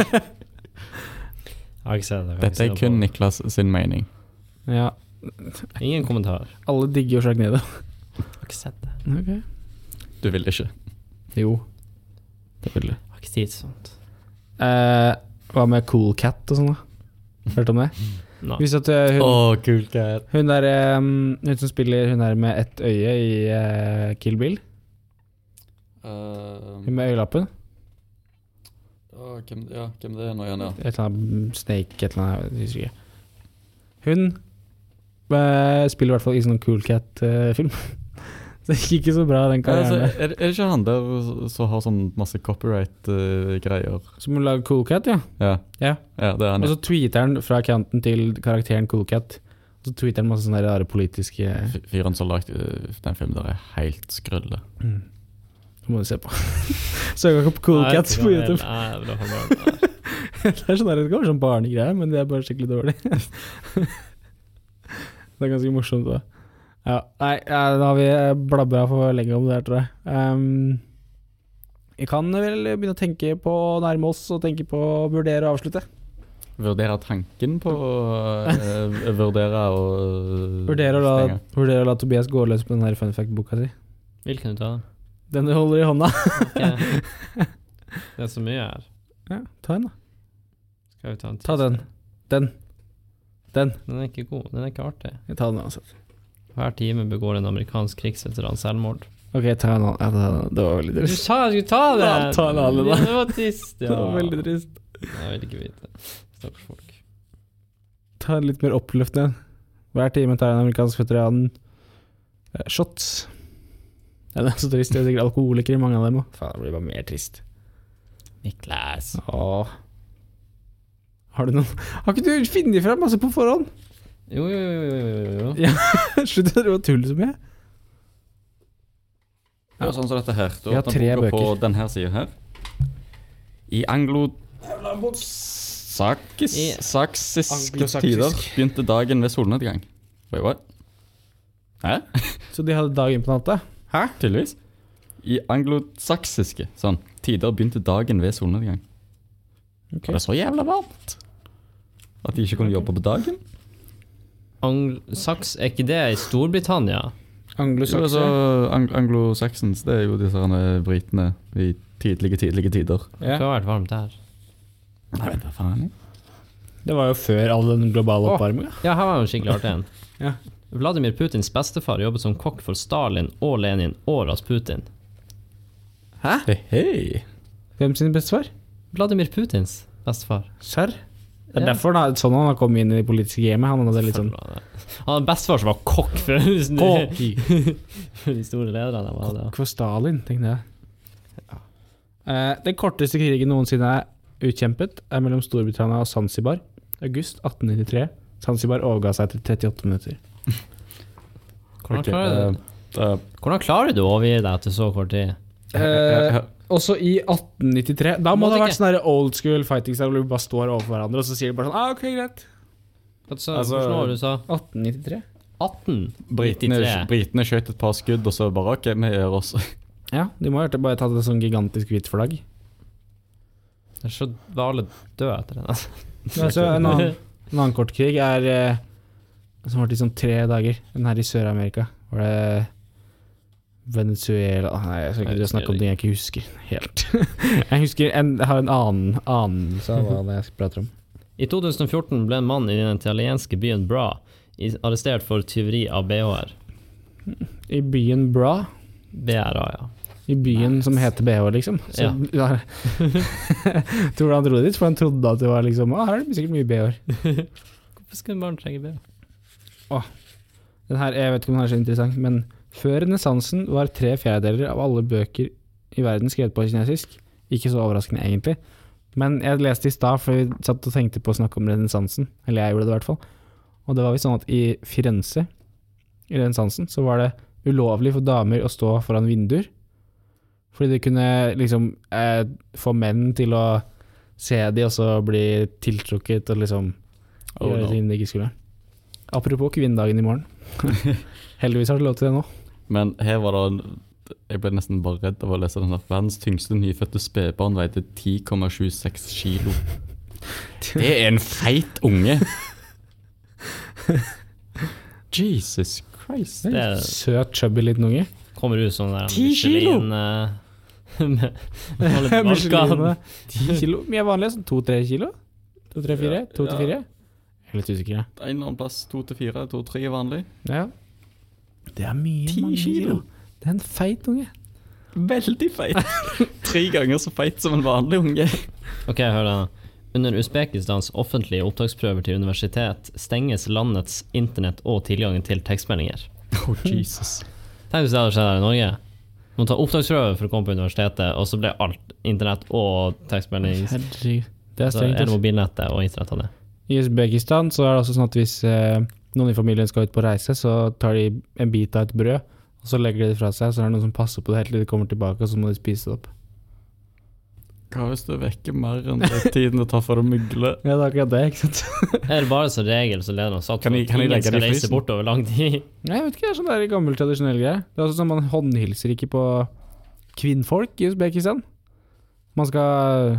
[SPEAKER 1] Jeg har ikke sett det. jeg har ikke
[SPEAKER 3] Dette er
[SPEAKER 1] sett
[SPEAKER 3] kun
[SPEAKER 1] det
[SPEAKER 3] Niklas sin mening.
[SPEAKER 2] Ja,
[SPEAKER 1] på- Ingen kommentar.
[SPEAKER 2] alle digger jo Sjagnado.
[SPEAKER 1] Jeg har ikke sett det.
[SPEAKER 3] Du vil ikke.
[SPEAKER 2] Jo.
[SPEAKER 3] Det vil du.
[SPEAKER 1] Jeg har ikke tid til sånt.
[SPEAKER 2] Eh, hva med Cool Cat og sånn, da? Hørt om det?
[SPEAKER 1] Nei.
[SPEAKER 2] Hvis at eh, hun,
[SPEAKER 3] cool cat.
[SPEAKER 2] hun der eh, Hun som spiller hun der med ett øye i eh, Kill Bill, hun med øyelappen
[SPEAKER 3] hvem, Eh, ja, hvem det er nå igjen, ja.
[SPEAKER 2] Et eller annet Snake, et eller annet jeg husker ikke. Hun eh, spiller i hvert fall i sånn Cool Cat-film. Så det gikk ikke så bra, den
[SPEAKER 3] Ja, altså,
[SPEAKER 2] karrieren.
[SPEAKER 3] er, er det ikke han der som har sånn masse copyright-greier?
[SPEAKER 2] der. Som hun lager Cool Cat, ja.
[SPEAKER 3] ja.
[SPEAKER 2] Ja.
[SPEAKER 3] ja, det er han.
[SPEAKER 2] Og
[SPEAKER 3] ja.
[SPEAKER 2] så tweeter han fra accounten til karakteren Cool Cat. Så tweeter han masse sånne rare politiske
[SPEAKER 3] F- Fyren som lagde øh, den filmen der er helt skrølle.
[SPEAKER 2] Mm. Det må du se på. Søk opp Cool
[SPEAKER 1] Nei,
[SPEAKER 2] Cat
[SPEAKER 1] jeg
[SPEAKER 2] på
[SPEAKER 1] vet
[SPEAKER 2] YouTube.
[SPEAKER 1] ikke hva jeg- Nei, det var for bra.
[SPEAKER 2] Det er sånn der, det går sånn barnegreier, men det er bare skikkelig dårlig. det er ganske morsomt, da. Ja, nei, ja, da har vi blabba for lenge om det her, tror jeg. Ehm, vi kan vel begynne å tenke på å nærme oss og tenke på å vurdere og avslutte.
[SPEAKER 3] Vurdere tanken på å øh, vurdere og øh,
[SPEAKER 2] Vurdere å la,
[SPEAKER 3] stenge.
[SPEAKER 2] vurdere å la Tobias gå løs på den her fun fact-boka si.
[SPEAKER 1] Hvilken ut av dem?
[SPEAKER 2] Den du holder i hånda.
[SPEAKER 1] Ok. Det er så mye her.
[SPEAKER 2] Ja, ta en, da.
[SPEAKER 1] Skal vi ta en
[SPEAKER 2] Ta
[SPEAKER 1] siste?
[SPEAKER 2] den. Den. Den.
[SPEAKER 1] Den er ikke god. Den er ikke artig.
[SPEAKER 2] Jeg tar den uansett.
[SPEAKER 1] Hver time begår en amerikansk krigsveteran selvmord.
[SPEAKER 2] OK, ta en annen. Ja, ta den. det var veldig
[SPEAKER 1] Du
[SPEAKER 2] trist.
[SPEAKER 1] sa jeg skulle ta den!
[SPEAKER 2] Ja, ta den alle, da.
[SPEAKER 1] Det var trist, ja.
[SPEAKER 2] Det var veldig trist.
[SPEAKER 1] Jeg vil ikke vite. Stakkars folk.
[SPEAKER 2] Ta en litt mer oppløftende. Hver time tar en amerikansk veteran eh, shots. Ja, det er så trist. Det er sikkert alkoholikere, mange av dem òg. Faen, det blir bare mer trist.
[SPEAKER 1] Niklas.
[SPEAKER 2] Åh. Har du noen Har ikke du funnet fram masse på forhånd?
[SPEAKER 1] Jo, jo, jo, jo, jo, jo, jo.
[SPEAKER 2] Slutt å drive og tulle så mye.
[SPEAKER 3] Ja, sånn som dette her. Du
[SPEAKER 2] Vi har
[SPEAKER 3] åpner
[SPEAKER 2] tre
[SPEAKER 3] boka på
[SPEAKER 2] bøker.
[SPEAKER 3] denne sida her. I anglo... Sakis,
[SPEAKER 1] I-
[SPEAKER 3] saksiske
[SPEAKER 2] Anglosaksisk.
[SPEAKER 3] tider begynte dagen ved solnedgang. Wait, what? Hæ?
[SPEAKER 2] Så de hadde dag inn på natta?
[SPEAKER 3] Tydeligvis. I anglosaksiske sånn, tider begynte dagen ved solnedgang.
[SPEAKER 2] Ok.
[SPEAKER 3] Var det så jævla varmt? At de ikke kunne jobbe på dagen?
[SPEAKER 1] Angl-Saks, er ikke det i Storbritannia?
[SPEAKER 3] Jo, altså,
[SPEAKER 2] Anglosakser?
[SPEAKER 3] ang Anglo-Saxons, det er jo disse herne britene i tidlige, tidlige tider.
[SPEAKER 1] Det
[SPEAKER 2] Ja.
[SPEAKER 1] har vært varmt der.
[SPEAKER 3] Nei, vet du hva faen?
[SPEAKER 2] Det var jo før all den globale oppvarminga.
[SPEAKER 1] Ja, her var en skikkelig artig en.
[SPEAKER 2] Ja.
[SPEAKER 1] Vladimir Putins bestefar jobbet som kokk for Stalin og Lenin og Rasputin.
[SPEAKER 3] Hei, hei.
[SPEAKER 2] Hvem sin bestefar?
[SPEAKER 1] Vladimir Putins bestefar.
[SPEAKER 2] Serr? Det er
[SPEAKER 1] Ja.
[SPEAKER 2] derfor han, sånn han har kommet inn i det politiske gamet. Han hadde litt sånn
[SPEAKER 1] Han hadde en bestefar som var kokk for,
[SPEAKER 2] Kokk.
[SPEAKER 1] for de store lederne. de hadde.
[SPEAKER 2] Takk for Stalin, tenkte jeg. Eh, den korteste krigen noensinne er utkjempet, er mellom Storbritannia og Zanzibar. August 1893. Zanzibar overga seg etter 38 minutter.
[SPEAKER 1] Hvordan,
[SPEAKER 3] Ok,
[SPEAKER 1] klarer du,
[SPEAKER 3] eh, eh,
[SPEAKER 1] hvordan klarer du å overgi deg etter så kort tid?
[SPEAKER 3] eh, eh,
[SPEAKER 2] også i 1893 Da må
[SPEAKER 1] Måtte
[SPEAKER 2] det ha vært
[SPEAKER 1] ikke.
[SPEAKER 2] sånn her old school fighting style hvor vi bare står overfor hverandre, og så sier de bare sånn ah, OK, greit.
[SPEAKER 1] Altså,
[SPEAKER 3] Altså-
[SPEAKER 1] hvordan var det du sa?
[SPEAKER 2] 1893.
[SPEAKER 3] Britene,
[SPEAKER 1] 1893.
[SPEAKER 3] britene skjøt et par skudd, og så bare OK, vi gjør oss
[SPEAKER 2] Ja, de må ha hørt det, bare tatt et sånn gigantisk hvitt flagg.
[SPEAKER 1] Så var alle døde etter den. altså.
[SPEAKER 2] Men altså, en annen En annen kort krig er eh, Som varte i sånn tre dager. Den her i Sør-Amerika. Var det Venezuela Ah, Nei, jeg skal ikke snakke om ting jeg ikke husker helt. jeg husker en, jeg har en annen anelse av hva det er jeg prater om.
[SPEAKER 1] I 2014 ble en mann i den italienske byen Bra i- arrestert for tyveri av BHR.
[SPEAKER 2] I byen Bra,
[SPEAKER 1] BRA, ja.
[SPEAKER 2] i byen som heter BH, liksom. Så,
[SPEAKER 1] Ja.
[SPEAKER 2] tror du han dro dit? For han trodde at det var liksom Å, her er det sikkert mye BH-er.
[SPEAKER 1] Hvorfor skulle barn trenge BH?
[SPEAKER 2] Den her, jeg vet ikke om den er så interessant, men før renessansen var tre fjerdedeler av alle bøker i verden skrevet på kinesisk. Ikke så overraskende, egentlig. Men jeg leste i stad, for vi satt og tenkte på å snakke om renessansen. Eller jeg gjorde det, i hvert fall. Og det var visst sånn at i Firenze, i renessansen, så var det ulovlig for damer å stå foran vinduer. Fordi det kunne liksom eh, få menn til å se de, og så bli tiltrukket og liksom
[SPEAKER 3] Oh,
[SPEAKER 2] gjøre
[SPEAKER 3] no.
[SPEAKER 2] ting de ikke skulle. Apropos kvinnedagen i morgen. Heldigvis har du lov til det nå.
[SPEAKER 3] Men her var det en- Jeg ble nesten bare redd av å lese den. her. Verdens tyngste nyfødte spedbarn veide 10,76 kilo. Det er en feit unge! Jesus Christ.
[SPEAKER 1] Det er-
[SPEAKER 2] Søt, chubby liten unge.
[SPEAKER 1] Kommer ut sånn der
[SPEAKER 2] Ti kilo!
[SPEAKER 1] Michelin eh, med- med alle
[SPEAKER 2] Michelin,
[SPEAKER 1] tilbakene.
[SPEAKER 2] 10 kilo. Men jeg er vanlig sånn to-tre kilo. To-tre-fire?
[SPEAKER 3] Ja,
[SPEAKER 2] To-til-fire? Jeg er litt usikker, jeg.
[SPEAKER 3] En eller annen plass to til fire, to-tre er vanlig.
[SPEAKER 2] Ja. Det er mye.
[SPEAKER 3] 10
[SPEAKER 2] mange
[SPEAKER 3] kilo.
[SPEAKER 2] Det er en feit unge.
[SPEAKER 3] Veldig feit. Tre ganger så feit som en vanlig unge.
[SPEAKER 1] Ok, hør da. Under Usbekistans offentlige opptaksprøver til universitet stenges landets internett og tilgangen til tekstmeldinger.
[SPEAKER 3] Oh, Jesus.
[SPEAKER 1] Tenk hvis det hadde skjedd her i Norge. Du må ta opptaksprøve for å komme på universitetet, og så ble alt internett og tekstmelding
[SPEAKER 2] Herregud. Det er
[SPEAKER 1] altså,
[SPEAKER 2] strengt.
[SPEAKER 1] Eller
[SPEAKER 2] ass.
[SPEAKER 1] mobilnettet og internett av det.
[SPEAKER 2] I Usbekistan så er det også sånn at hvis eh, noen i familien skal ut på reise, så tar de en bit av et brød, og så legger de det fra seg, så er det noen som passer på det helt til de kommer tilbake, og så må de spise det opp.
[SPEAKER 3] Hva hvis du vekker mer enn det tiden det tar for å mygle?
[SPEAKER 2] Ja, det er akkurat det, ikke sant?
[SPEAKER 1] Er det bare som regel så leder han satt
[SPEAKER 3] Kan jeg- kan jeg legge
[SPEAKER 1] skal
[SPEAKER 3] det i
[SPEAKER 1] reise
[SPEAKER 3] frysen?
[SPEAKER 1] bort over lang tid?
[SPEAKER 2] Nei, Jeg vet ikke, det er sånn der gammel tradisjonell greie. Det er også sånn Man håndhilser ikke på kvinnfolk i Usbekistan. Man skal ha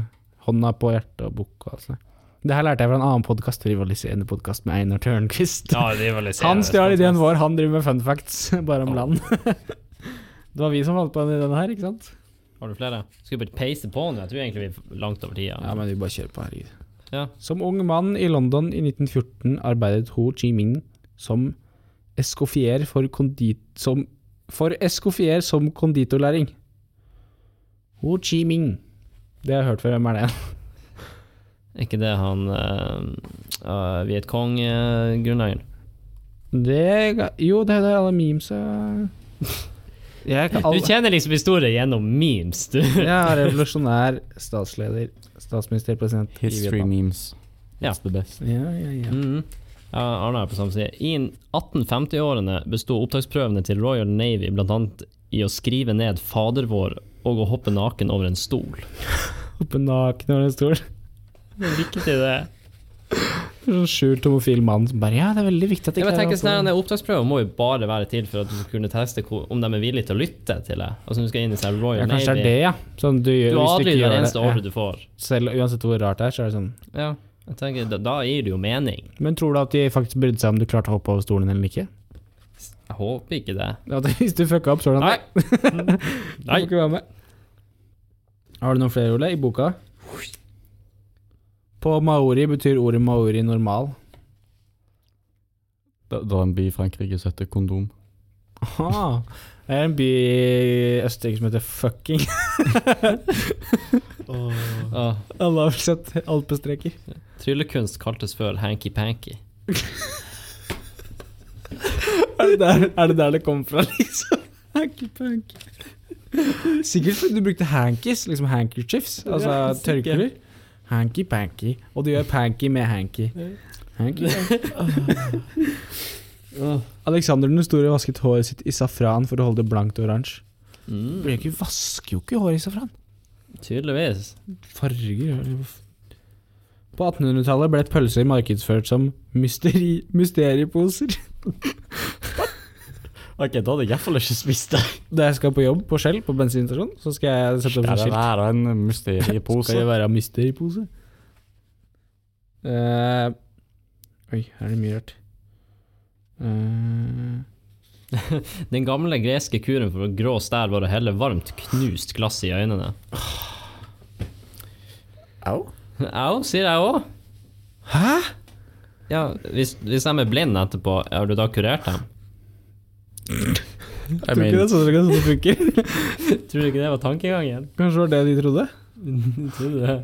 [SPEAKER 2] hånda på hjertet og bukk og alt sånt. Det her lærte jeg fra en annen podkast, rivaliserende podkast med Einar Tørnquist.
[SPEAKER 1] Ja, rivaliserer.
[SPEAKER 2] han stjal ideen vår, han driver med fun facts, bare om land. det var vi som fant på den ideen her, ikke sant?
[SPEAKER 1] Har du flere? Skal vi bare peise på nå? Jeg tror egentlig vi er langt over tida.
[SPEAKER 2] Ja, men vi bare kjører på, herregud.
[SPEAKER 1] Ja.
[SPEAKER 2] Som ung mann i London i 1914 arbeidet Ho Chi Minh som escoffier for, kondit, som, for escoffier som konditorlæring. Ho Chi Minh. Det har jeg hørt før. Hvem er det?
[SPEAKER 1] Er ikke det han uh, uh, Vietcong-grunnleggeren?
[SPEAKER 2] det ga- jo, det er det alle memes er. Jeg kan
[SPEAKER 1] du
[SPEAKER 2] alle,
[SPEAKER 1] kjenner liksom historie gjennom memes, du.
[SPEAKER 2] Jeg er revolusjonær, statsleder, statsminister, president i
[SPEAKER 3] History
[SPEAKER 2] Vietnam.
[SPEAKER 3] memes.
[SPEAKER 1] Ja.
[SPEAKER 3] It's the best.
[SPEAKER 2] Ja, ja, ja.
[SPEAKER 1] Mhm. Ja, Arne er på samme side. I 1850-årene bestod opptaksprøvene til Royal Navy bl.a. i å skrive ned fader vår og å hoppe naken over en stol.
[SPEAKER 2] Oppe naken over en stol.
[SPEAKER 1] Lykke til det.
[SPEAKER 2] Sånn skjult homofil mann som bare Ja, det er veldig viktig at det
[SPEAKER 1] Jeg bare
[SPEAKER 2] er
[SPEAKER 1] tenker
[SPEAKER 2] åpen-
[SPEAKER 1] sånn, her, Opptaksprøver må jo bare være til for at du skal kunne teste hvor, om de er villige til å lytte til deg. Altså, du skal inn i sånn Royal
[SPEAKER 2] Ja, kanskje det er
[SPEAKER 1] Navy.
[SPEAKER 2] det, ja. Sånn, du, gjør-
[SPEAKER 1] Du
[SPEAKER 2] hvis ikke
[SPEAKER 1] adlyder
[SPEAKER 2] gjør
[SPEAKER 1] hver
[SPEAKER 2] det-
[SPEAKER 1] eneste
[SPEAKER 2] ja.
[SPEAKER 1] ordre du får.
[SPEAKER 2] Selv, uansett hvor rart det er, så er det sånn.
[SPEAKER 1] Ja. Jeg tenker, da, da gir det jo mening.
[SPEAKER 2] Men tror du at de faktisk brydde seg om du klarte å hoppe over stolen eller ikke?
[SPEAKER 1] Jeg håper ikke det.
[SPEAKER 2] Ja, det- hvis du fucka opp, så er det
[SPEAKER 1] Nei.
[SPEAKER 2] Du
[SPEAKER 1] Nei.
[SPEAKER 2] får ikke være med. Har du noen flere, Ole, i boka? På maori betyr ordet maori normal.
[SPEAKER 3] Det det er en by i Frankrike som heter Kondom.
[SPEAKER 2] Aha. Det er en by i Østerrike som heter Fucking.
[SPEAKER 1] Åh,
[SPEAKER 2] Alle har vel sett alpestreker.
[SPEAKER 1] tryllekunst kaltes før hanky-panky.
[SPEAKER 2] Er det der er det, der det kom fra, liksom? Hanky-panky. Sikkert fordi du brukte hankies, liksom handkerchiefs, altså
[SPEAKER 3] Ja, sikkert.
[SPEAKER 2] tørklær. Hanky-panky. Og du gjør panky med hanky. hanky Alexander den store vasket håret sitt i safran for å holde det blankt og oransje.
[SPEAKER 1] Mm,
[SPEAKER 2] Bleke vasker jo ikke håret i safran.
[SPEAKER 1] tydeligvis.
[SPEAKER 2] Farger er det jo f- På 1800-tallet ble et pølser markedsført som mysteri, mysterieposer.
[SPEAKER 3] Ok, da hadde jeg iallfall ikke spist det.
[SPEAKER 2] Da jeg skal på jobb på Shell, på bensinstasjonen, så skal jeg sette opp
[SPEAKER 3] Ja,
[SPEAKER 2] sånn
[SPEAKER 3] det
[SPEAKER 2] skilt.
[SPEAKER 3] er en
[SPEAKER 2] Skal
[SPEAKER 3] mysteriepose.
[SPEAKER 2] det være mysteripose? Uh, oi, her er det mye rart. Eh,
[SPEAKER 1] Den gamle greske kuren for å grå stær var å helle varmt, knust glass i øynene.
[SPEAKER 3] Au?
[SPEAKER 1] Au, sier jeg òg.
[SPEAKER 2] Hæ?
[SPEAKER 1] Ja, hvis, hvis de er blinde etterpå, har du da kurert dem?
[SPEAKER 3] I
[SPEAKER 2] Tror ikke det
[SPEAKER 3] mean,
[SPEAKER 2] er sånn det- sånn det funker.
[SPEAKER 1] Tror du ikke det var tankegangen?
[SPEAKER 2] Kanskje det var det de trodde?
[SPEAKER 1] Tror du det?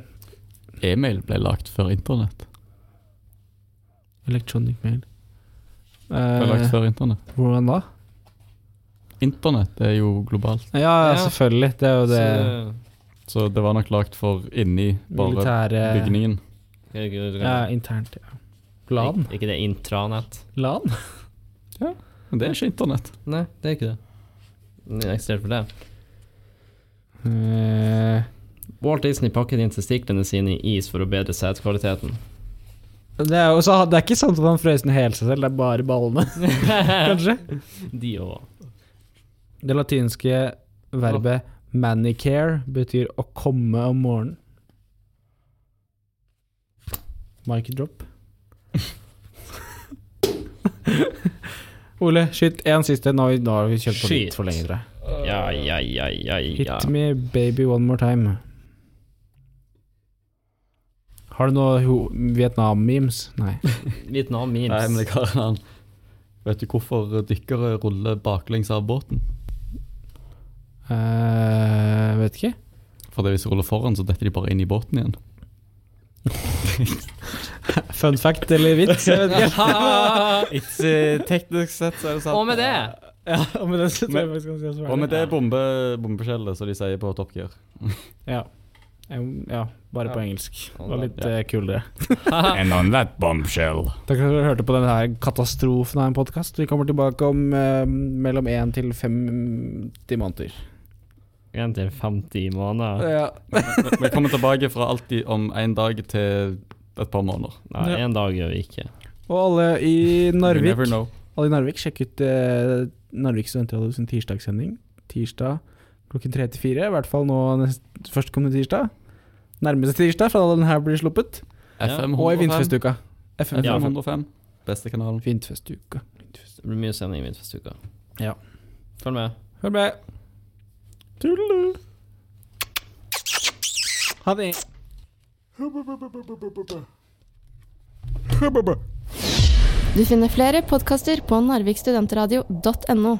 [SPEAKER 3] e-mail ble lagt før internett.
[SPEAKER 2] Electronic mail.
[SPEAKER 3] Ble lagt
[SPEAKER 2] Eh,
[SPEAKER 3] før internett.
[SPEAKER 2] hvordan da?
[SPEAKER 3] Internett er jo globalt,
[SPEAKER 2] Ja, ja,
[SPEAKER 1] Ja.
[SPEAKER 2] selvfølgelig. Det er jo det
[SPEAKER 3] så det var nok lagt for inni bare
[SPEAKER 2] militære
[SPEAKER 3] bygningen.
[SPEAKER 2] Ja, internt. Ja. LAN.
[SPEAKER 1] Ikke det intranett?
[SPEAKER 2] LAN?
[SPEAKER 3] Men det er ikke internett.
[SPEAKER 1] Nei, det er ikke det. Det eksisterer for det.
[SPEAKER 2] Eh,
[SPEAKER 1] Walt Disney pakket inn testiklene sine i is for å bedre sædkvaliteten.
[SPEAKER 2] det, er jo, så, det er ikke sant at han frøs ned hele seg selv, det er bare ballene, kanskje?
[SPEAKER 1] De òg.
[SPEAKER 2] Det latinske verbet manicare betyr å komme om morgenen. Mic drop. Ole, skyt en siste. Nå, har vi- nå har vi kjørt på litt
[SPEAKER 1] Skyt.
[SPEAKER 2] for lenge, tror jeg.
[SPEAKER 1] Ja, ja, ja, ja,
[SPEAKER 2] Hit
[SPEAKER 1] ja.
[SPEAKER 2] me baby one more time. Har du noe ho- Vietnam-memes? Nei.
[SPEAKER 3] Nei, men
[SPEAKER 1] Vietnam-memes.
[SPEAKER 3] jeg har en annen. Vet du hvorfor dykkere ruller baklengs av båten?
[SPEAKER 2] Eh, vet ikke.
[SPEAKER 3] Fordi hvis de ruller foran, så detter de bare inn i båten igjen.
[SPEAKER 2] Fun fact eller vits? Jeg vet ikke.
[SPEAKER 3] teknisk sett så er det sant.
[SPEAKER 1] Og med det
[SPEAKER 2] Ja, men det tror jeg faktisk kan si oss ferdig.
[SPEAKER 3] Og med det bombe, bombeskjellet, som de sier på Top Gear.
[SPEAKER 2] Ja. Jeg- ja bare på
[SPEAKER 1] Ja.
[SPEAKER 2] engelsk. Det
[SPEAKER 1] Ja,
[SPEAKER 2] var
[SPEAKER 1] da.
[SPEAKER 2] litt eh, kulere.
[SPEAKER 5] And on that bombshell.
[SPEAKER 2] Takk for at dere hørte på denne her katastrofen av en podkast. Vi kommer tilbake om eh, mellom 1 til 50 måneder.
[SPEAKER 1] Én til 50 måneder.
[SPEAKER 2] Ja.
[SPEAKER 3] Vi- Vi kommer tilbake fra alltid om en dag til et par måneder.
[SPEAKER 1] Nei,
[SPEAKER 2] Ja.
[SPEAKER 1] én dag gjør vi ikke.
[SPEAKER 2] Og alle i
[SPEAKER 3] You
[SPEAKER 2] Narvik,
[SPEAKER 3] never know.
[SPEAKER 2] alle i Narvik sjekk ut eh, Narvik Studentradio sin tirsdagssending. Tirsdag klokken tre til fire. I hvert fall nå nest, førstkommende tirsdag. Nærmeste tirsdag, fra da den her blir sluppet.
[SPEAKER 1] Ja.
[SPEAKER 3] FM
[SPEAKER 2] Og i
[SPEAKER 3] 105.
[SPEAKER 2] Vindfestuka. FM
[SPEAKER 1] Ja.
[SPEAKER 3] 105. Beste kanalen.
[SPEAKER 2] Vindfestuka.
[SPEAKER 1] Det blir mye sending midt første uka.
[SPEAKER 2] Ja.
[SPEAKER 1] Følg med.
[SPEAKER 2] Hør med. Tulle. Ha det.
[SPEAKER 6] Du finner flere podkaster på narvikstudentradio.no.